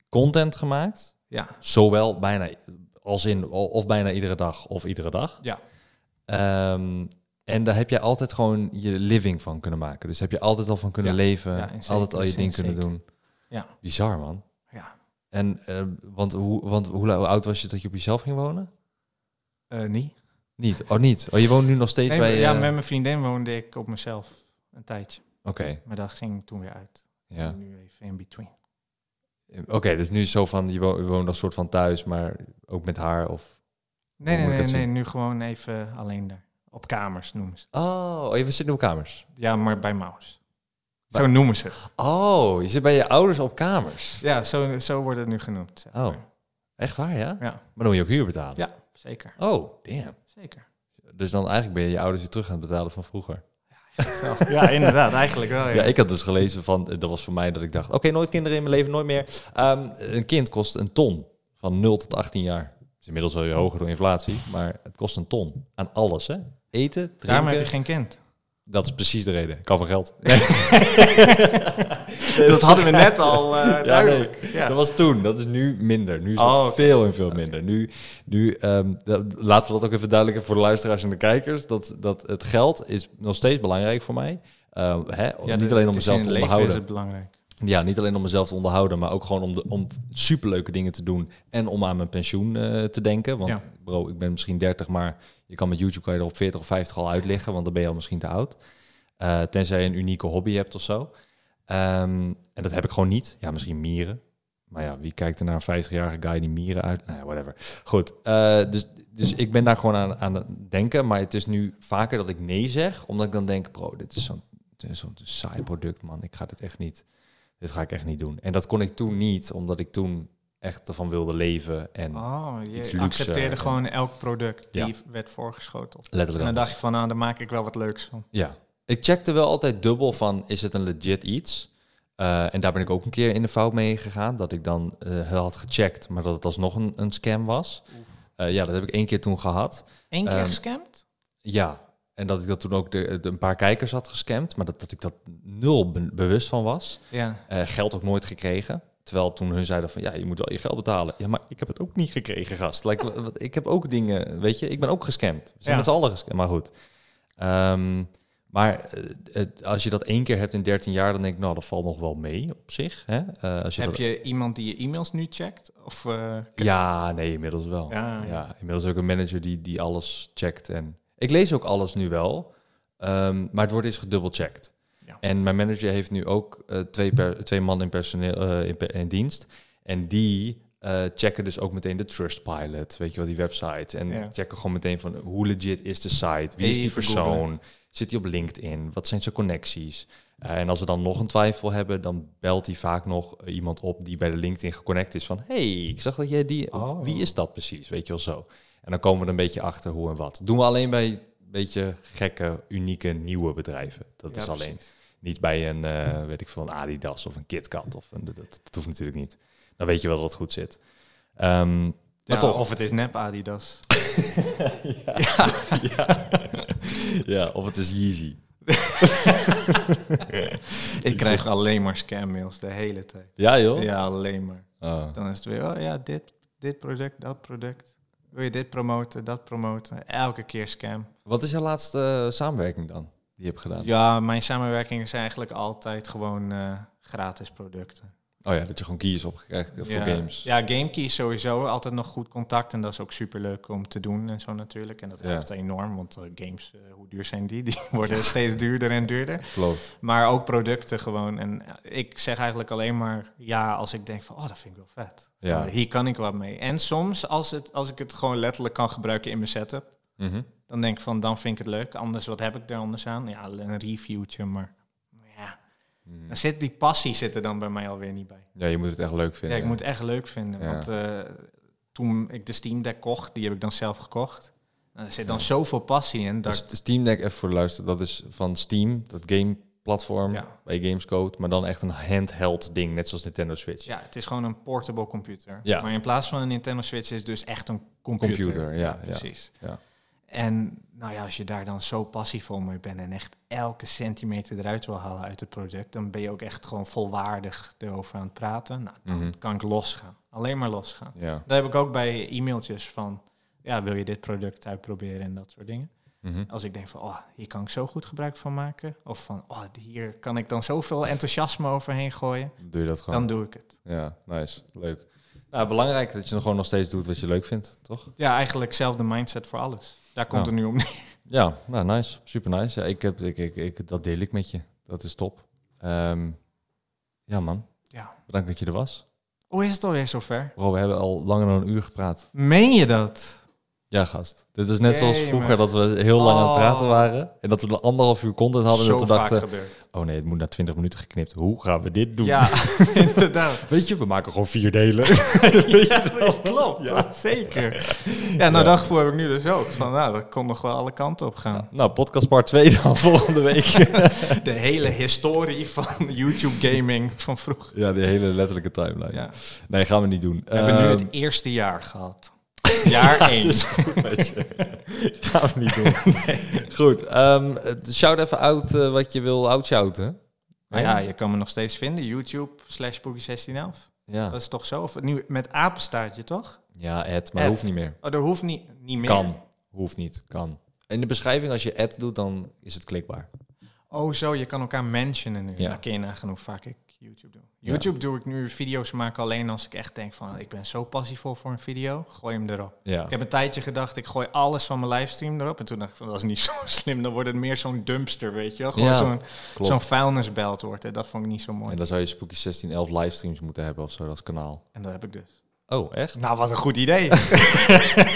Speaker 1: content gemaakt.
Speaker 2: Ja.
Speaker 1: Zowel bijna als in, of bijna iedere dag of iedere dag.
Speaker 2: Ja.
Speaker 1: Ehm, en daar heb jij altijd gewoon je living van kunnen maken. Dus heb je altijd al van kunnen
Speaker 2: Ja,
Speaker 1: leven,
Speaker 2: ja, in zekere
Speaker 1: altijd al je
Speaker 2: zin
Speaker 1: ding kunnen
Speaker 2: zeker.
Speaker 1: doen.
Speaker 2: Ja.
Speaker 1: Bizar man.
Speaker 2: Ja.
Speaker 1: En eh, want, hoe, want hoe, la- hoe oud was je dat je op jezelf ging wonen?
Speaker 2: Eh, niet?
Speaker 1: Niet. Oh, niet. Oh, je woont nu nog steeds
Speaker 2: Nee,
Speaker 1: bij.
Speaker 2: maar- ja,
Speaker 1: eh,
Speaker 2: met mijn vriendin woonde ik op mezelf een tijdje.
Speaker 1: Oké.
Speaker 2: Maar dat ging toen weer uit.
Speaker 1: ja.
Speaker 2: Nu even in between.
Speaker 1: Oké, dus nu is het zo van je wo- je woont als soort van thuis, maar ook met haar of. Hoe
Speaker 2: Nee, nee,
Speaker 1: moet ik
Speaker 2: nee,
Speaker 1: dat
Speaker 2: nee, nu gewoon even alleen daar. Op kamers noemen ze. het.
Speaker 1: Oh, je zit nu op kamers.
Speaker 2: Ja, maar bij Maus.
Speaker 1: Bij-
Speaker 2: Zo noemen ze het.
Speaker 1: Oh, je zit bij je ouders op kamers.
Speaker 2: Ja, zo, zo wordt het nu genoemd. zeg
Speaker 1: Oh,
Speaker 2: maar.
Speaker 1: echt waar, ja?
Speaker 2: Ja.
Speaker 1: Maar dan moet je ook huur betalen.
Speaker 2: Ja, zeker.
Speaker 1: Oh, damn.
Speaker 2: Zeker.
Speaker 1: Dus dan eigenlijk ben je je ouders weer terug aan het betalen van vroeger.
Speaker 2: Ja, inderdaad, eigenlijk wel. Ja.
Speaker 1: Ja, ik had dus gelezen van, dat was voor mij dat ik dacht, oké, nooit kinderen in mijn leven, nooit meer. Ehm, een kind kost een ton van 0 tot 18 jaar. Dat is inmiddels wel weer hoger door inflatie, maar het kost een ton aan alles, hè? Eten, drinken.
Speaker 2: Daarom heb je geen kind.
Speaker 1: Dat is precies de reden. Ik van geld.
Speaker 2: dat hadden we net al eh, duidelijk.
Speaker 1: nee.
Speaker 2: Ja.
Speaker 1: Dat was toen. Dat is nu minder. Nu is
Speaker 2: Oh,
Speaker 1: het
Speaker 2: oké.
Speaker 1: veel en veel minder. Nu, nu ehm, dat- laten we dat ook even duidelijker voor de luisteraars en de kijkers. Dat, dat het geld is nog steeds belangrijk voor mij. Ehm, hè? niet
Speaker 2: de-
Speaker 1: alleen om
Speaker 2: het is
Speaker 1: mezelf
Speaker 2: in
Speaker 1: te
Speaker 2: het leven
Speaker 1: onderhouden.
Speaker 2: is het belangrijk.
Speaker 1: Ja, niet alleen om mezelf te onderhouden, maar ook gewoon om, de, om superleuke dingen te doen. En om aan mijn pensioen eh, te denken. Want
Speaker 2: Ja.
Speaker 1: bro, ik ben misschien 30, maar je kan met YouTube kan je er op 40 of 50 al uitliggen, want dan ben je al misschien te oud. Eh, tenzij je een unieke hobby hebt of zo. Ehm, en dat heb ik gewoon niet. Ja, misschien mieren. Maar ja, wie kijkt er naar een 50-jarige guy die mieren uit? Nou ja, whatever. Goed, eh, dus, dus ik ben daar gewoon aan, aan het denken. Maar het is nu vaker dat ik nee zeg, omdat ik dan denk, bro, dit is zo'n dit is zo'n saai product, man. Ik ga dit echt niet dit ga ik echt niet doen. En dat kon ik toen niet, omdat ik toen echt ervan wilde leven. En
Speaker 2: Oh, je
Speaker 1: Hmm. Iets luxer
Speaker 2: accepteerde
Speaker 1: en-
Speaker 2: gewoon elk product
Speaker 1: Ja.
Speaker 2: die werd voorgeschoteld. En
Speaker 1: letterlijk.
Speaker 2: dan
Speaker 1: anders.
Speaker 2: dacht je van, nou, daar maak ik wel wat leuks van.
Speaker 1: Ja. Ik checkte wel altijd dubbel van, is het een legit iets? Eh, en daar ben ik ook een keer in de fout mee gegaan. Dat ik dan eh, had gecheckt, maar dat het alsnog een, een scam was. Eh, ja, dat heb ik één keer toen gehad.
Speaker 2: Eén keer
Speaker 1: Ehm,
Speaker 2: gescamd?
Speaker 1: Ja. En dat ik dat toen ook de, de- een paar kijkers had gescamd. Maar dat, dat ik dat nul be- bewust van was.
Speaker 2: Ja.
Speaker 1: Eh, geld ook nooit gekregen. Terwijl toen hun zeiden van ja, je moet wel je geld betalen. Ja, maar ik heb het ook niet gekregen, gast. Like, wa- wat- ik heb ook dingen, weet je, ik ben ook gescamd. We zijn
Speaker 2: Ja.
Speaker 1: met z'n allen gescamd, maar goed. Ehm, maar eh, het- als je dat één keer hebt in 13 jaar, dan denk ik, nou, dat valt nog wel mee op zich. Hè? Eh, als je
Speaker 2: Heb
Speaker 1: dat-
Speaker 2: je iemand die je e-mails nu checkt? Of, eh,
Speaker 1: Ja, nee, inmiddels wel.
Speaker 2: Ja.
Speaker 1: Ja. inmiddels ook een manager die, die alles checkt. En ik lees ook alles nu wel, ehm, maar het wordt eens gedubbelcheckt.
Speaker 2: Ja.
Speaker 1: En mijn manager heeft nu ook eh, twee, per, twee man in, personeel, eh, in, per- in dienst. En die eh, checken dus ook meteen de Trustpilot, weet je wel, die website. En
Speaker 2: Ja.
Speaker 1: checken gewoon meteen van hoe legit is de site, wie is die
Speaker 2: Even
Speaker 1: persoon,
Speaker 2: googlen.
Speaker 1: zit hij op LinkedIn, wat zijn zijn connecties. Eh, en als we dan nog een twijfel hebben, dan belt hij vaak nog eh, iemand op die bij de LinkedIn geconnect is van... hey, ik zag dat jij die... of
Speaker 2: Oh.
Speaker 1: Wie is dat precies? Weet je wel zo. En dan komen we er een beetje achter hoe en wat. doen we alleen bij een beetje gekke, unieke, nieuwe bedrijven. Dat
Speaker 2: Ja,
Speaker 1: is alleen.
Speaker 2: precies.
Speaker 1: Niet bij een, eh, weet ik veel, een Adidas of een KitKat. Of een, dat, dat hoeft natuurlijk niet. Dan weet je wel dat het goed zit. Ehm,
Speaker 2: Ja,
Speaker 1: maar toch.
Speaker 2: Of het is nep Adidas.
Speaker 1: ja. ja, of het is Yeezy.
Speaker 2: ik krijg alleen maar scammails de hele tijd.
Speaker 1: Ja joh?
Speaker 2: Ja, alleen maar.
Speaker 1: Oh.
Speaker 2: Dan is het weer, oh ja, dit, dit product, dat product. Wil je dit promoten, dat promoten? Elke keer scam.
Speaker 1: Wat is jouw laatste eh, samenwerking dan? Die je hebt gedaan?
Speaker 2: Ja, mijn samenwerkingen zijn eigenlijk altijd gewoon eh, gratis producten.
Speaker 1: Oh ja, dat je gewoon keys opgekregen voor
Speaker 2: ja.
Speaker 1: games.
Speaker 2: Ja, GameKey sowieso. Altijd nog goed contact. En dat is ook superleuk om te doen en zo natuurlijk. En dat
Speaker 1: Ja.
Speaker 2: helpt enorm, want eh, games, eh, hoe duur zijn die? Die worden steeds duurder en duurder.
Speaker 1: Klopt.
Speaker 2: Maar ook producten gewoon. En ik zeg eigenlijk alleen maar ja als ik denk van, oh, dat vind ik wel vet.
Speaker 1: Ja.
Speaker 2: Hier kan ik wat mee. En soms als, het, als ik het gewoon letterlijk kan gebruiken in mijn setup,
Speaker 1: Mhm.
Speaker 2: dan denk ik van, dan vind ik het leuk. Anders, wat heb ik er anders aan? Ja, een reviewtje, maar ja.
Speaker 1: Mhm.
Speaker 2: Dan zit die passie zit er dan bij mij alweer niet bij.
Speaker 1: Ja, je moet het echt leuk
Speaker 2: Ja,
Speaker 1: vinden.
Speaker 2: ik moet het echt leuk vinden.
Speaker 1: Ja.
Speaker 2: Want eh, toen ik de Steam Deck kocht, die heb ik dan zelf gekocht. En Er zit dan zoveel passie in.
Speaker 1: Dat
Speaker 2: Dat,
Speaker 1: Dus is de Steam Deck, even voor de luister, dat is van Steam, dat game platform
Speaker 2: Ja.
Speaker 1: bij Gamescode, maar dan echt een handheld ding, net zoals Nintendo Switch.
Speaker 2: Ja, het is gewoon een portable computer.
Speaker 1: Ja.
Speaker 2: Maar in plaats van een Nintendo Switch is het dus echt een computer.
Speaker 1: Computer, ja, ja.
Speaker 2: precies.
Speaker 1: Ja.
Speaker 2: En nou ja, als je daar dan zo passievol mee bent en echt elke centimeter eruit wil halen uit het product, dan ben je ook echt gewoon volwaardig erover aan het praten. Nou, dan
Speaker 1: Mhm.
Speaker 2: kan ik losgaan. Alleen maar losgaan.
Speaker 1: Ja.
Speaker 2: Daar heb ik ook bij e-mailtjes van, ja, wil je dit product uitproberen en dat soort dingen.
Speaker 1: Mhm.
Speaker 2: Als ik denk van, oh, hier kan ik zo goed gebruik van maken. Of van, oh, hier kan ik dan zoveel enthousiasme overheen gooien.
Speaker 1: Dan Doe je dat gewoon.
Speaker 2: Dan doe ik het.
Speaker 1: Ja, nice. Leuk. Nou, belangrijk dat je dan gewoon nog steeds doet wat je leuk vindt, toch?
Speaker 2: Ja, eigenlijk zelfde mindset voor alles. Daar komt
Speaker 1: Ja.
Speaker 2: het nu om neer.
Speaker 1: Ja, nou, nice. Super nice. Ja, ik heb, ik, ik, ik, dat deel ik met je. Dat is top. Ehm, ja, man.
Speaker 2: Ja.
Speaker 1: Bedankt dat je er was.
Speaker 2: Hoe is het alweer zover?
Speaker 1: Bro, we hebben al langer dan een uur gepraat.
Speaker 2: Meen je dat?
Speaker 1: Ja, gast. Dit is net zoals
Speaker 2: Jee,
Speaker 1: vroeger
Speaker 2: man.
Speaker 1: dat we heel lang aan het praten
Speaker 2: Oh.
Speaker 1: waren. En dat we een anderhalf uur content hadden. en
Speaker 2: Zo
Speaker 1: dat we
Speaker 2: vaak
Speaker 1: dachten,
Speaker 2: gebeurd.
Speaker 1: oh nee, het moet na twintig minuten geknipt. Hoe gaan we dit doen?
Speaker 2: Ja, inderdaad.
Speaker 1: Weet je, we maken gewoon vier delen.
Speaker 2: Ja, dat klopt. dat zeker. Ja, nou, dat gevoel heb ik nu dus ook. Van, nou, dat kon nog wel alle kanten op gaan.
Speaker 1: nou, podcast part 2 dan volgende week.
Speaker 2: De hele historie van YouTube gaming van vroeger.
Speaker 1: ja, die hele letterlijke timeline.
Speaker 2: Ja.
Speaker 1: Nee, gaan we niet doen.
Speaker 2: We hebben nu
Speaker 1: Ehm,
Speaker 2: het eerste jaar gehad. Jaar één.
Speaker 1: is goed met je. Gaan we niet doen. Goed. ehm, shout even out eh, wat je wil outshouten. Ah,
Speaker 2: Maar ja, je kan me nog steeds vinden. YouTube slash Boogie1611.
Speaker 1: Ja.
Speaker 2: Dat is toch zo? Of nu met apenstaartje, toch?
Speaker 1: ja, het, maar
Speaker 2: Ad.
Speaker 1: hoeft niet meer.
Speaker 2: Oh, dat hoeft niet, niet meer.
Speaker 1: Kan. Hoeft niet. Kan. In de beschrijving, als je ad doet, dan is het klikbaar.
Speaker 2: Oh, zo, je kan elkaar mentionen nu.
Speaker 1: Ja.
Speaker 2: Dan kun je nagaan hoe vaak ik YouTube doe.
Speaker 1: Ja.
Speaker 2: YouTube doe ik nu video's maken alleen als ik echt denk van... ik ben zo passievol voor een video, gooi hem erop.
Speaker 1: Ja.
Speaker 2: Ik heb een tijdje gedacht, ik gooi alles van mijn livestream erop. En toen dacht ik van, dat is niet zo slim. Dan wordt het meer zo'n dumpster, weet je wel. Gewoon
Speaker 1: Ja,
Speaker 2: zo'n,
Speaker 1: klopt.
Speaker 2: zo'n vuilnisbelt wordt het. Dat vond ik niet zo mooi.
Speaker 1: En dan zou je Spooky 1611 livestreams moeten hebben of zo, dat kanaal.
Speaker 2: En dat heb ik dus.
Speaker 1: Oh, echt?
Speaker 2: Nou, wat een goed idee.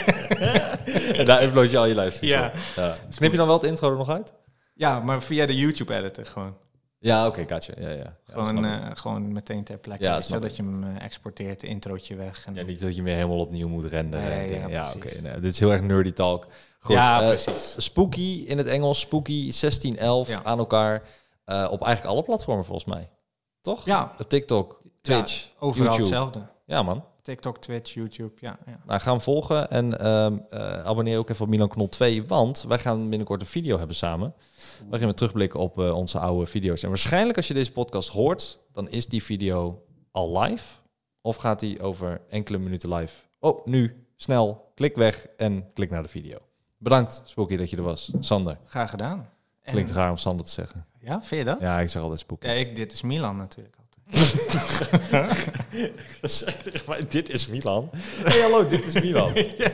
Speaker 1: En daar upload je al je livestreams
Speaker 2: Ja.
Speaker 1: op. ja. Knip je dan wel het intro er nog uit?
Speaker 2: ja, maar via de YouTube-editor gewoon.
Speaker 1: Ja, oké, gotcha. Ja, ja. Ja, dat snap
Speaker 2: gewoon,
Speaker 1: ik.
Speaker 2: eh, gewoon meteen ter plekke.
Speaker 1: Ja,
Speaker 2: weet je
Speaker 1: snap
Speaker 2: wel, dat je hem eh, exporteert, introotje weg. En
Speaker 1: Ja, niet dat je meer helemaal opnieuw moet renderen.
Speaker 2: Nee,
Speaker 1: en dingen.
Speaker 2: ja,
Speaker 1: ja, oké.
Speaker 2: precies.
Speaker 1: nee, dit is heel erg nerdy talk. Goed,
Speaker 2: Ja,
Speaker 1: eh,
Speaker 2: precies.
Speaker 1: Spooky in het Engels, Spooky 1611
Speaker 2: Ja.
Speaker 1: aan elkaar. eh, op eigenlijk alle platformen volgens mij. Toch?
Speaker 2: Ja,
Speaker 1: Op TikTok, Twitch,
Speaker 2: overal
Speaker 1: YouTube.
Speaker 2: hetzelfde.
Speaker 1: Ja man.
Speaker 2: TikTok, Twitch, YouTube, ja. ja.
Speaker 1: Nou, ga hem volgen en ehm, eh, abonneer ook even op Milan Knol 2. Want wij gaan binnenkort een video hebben samen. Waarin we terugblikken op eh, onze oude video's. En waarschijnlijk als je deze podcast hoort, dan is die video al live. Of gaat die over enkele minuten live. Oh, nu, snel, klik weg en klik naar de video. Bedankt, Spooky, dat je er was. Sander,
Speaker 2: Graag gedaan. En-
Speaker 1: klinkt raar om Sander te zeggen.
Speaker 2: Ja, vind je dat? Ja.
Speaker 1: Ja, ik zeg altijd Spooky.
Speaker 2: ik, dit is Milan natuurlijk altijd.
Speaker 1: dit is Milan. Hey, hallo, dit is Milan.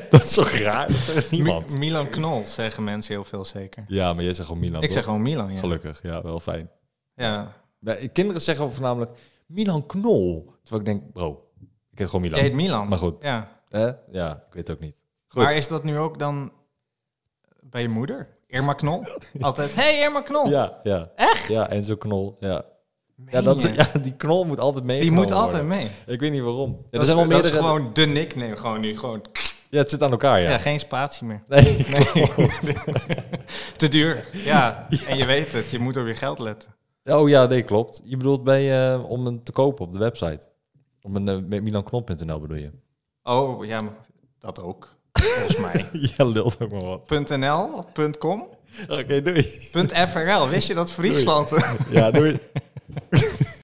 Speaker 1: Dat is zo raar, dat zegt
Speaker 2: Mi- Milan Knol zeggen mensen heel veel zeker.
Speaker 1: Ja, maar jij zegt gewoon Milan,
Speaker 2: ik zeg gewoon Milan, ja.
Speaker 1: Gelukkig, ja, wel fijn.
Speaker 2: ja.
Speaker 1: Nee, Kinderen zeggen voornamelijk Milan Knol. Terwijl ik denk, bro, ik heet gewoon
Speaker 2: Je
Speaker 1: Milan.
Speaker 2: heet Milan.
Speaker 1: Maar goed.
Speaker 2: Ja.
Speaker 1: Eh? Ja, ik weet het ook niet. Goed.
Speaker 2: Maar is dat nu ook dan bij je moeder? Irma Knol? Altijd, hey Irma Knol!
Speaker 1: Ja, ja. Echt? Ja, en zo knol. Ja,
Speaker 2: Oh. Meen
Speaker 1: ja, dat,
Speaker 2: je?
Speaker 1: ja die knol moet altijd mee.
Speaker 2: Die moet altijd mee.
Speaker 1: Ik weet niet waarom. Ja,
Speaker 2: dat
Speaker 1: er
Speaker 2: is,
Speaker 1: zijn wel
Speaker 2: dat is
Speaker 1: meerdere.
Speaker 2: gewoon de nickname, gewoon nu. Gewoon,
Speaker 1: Ja, het zit aan elkaar, ja.
Speaker 2: ja. geen spatie meer.
Speaker 1: Nee,
Speaker 2: Te duur. Ja. en je weet het, je moet op je geld letten.
Speaker 1: Oh ja, nee, klopt. Je bedoelt bij, eh, om een te kopen op de website. Op een eh, met milanknol.nl bedoel je?
Speaker 2: Oh, ja, maar dat ook. Volgens mij.
Speaker 1: Ja, lult ook maar wat.
Speaker 2: .nl, .com,
Speaker 1: Oké, doei.
Speaker 2: .frl. Wist je dat Friesland...
Speaker 1: Ja, doei.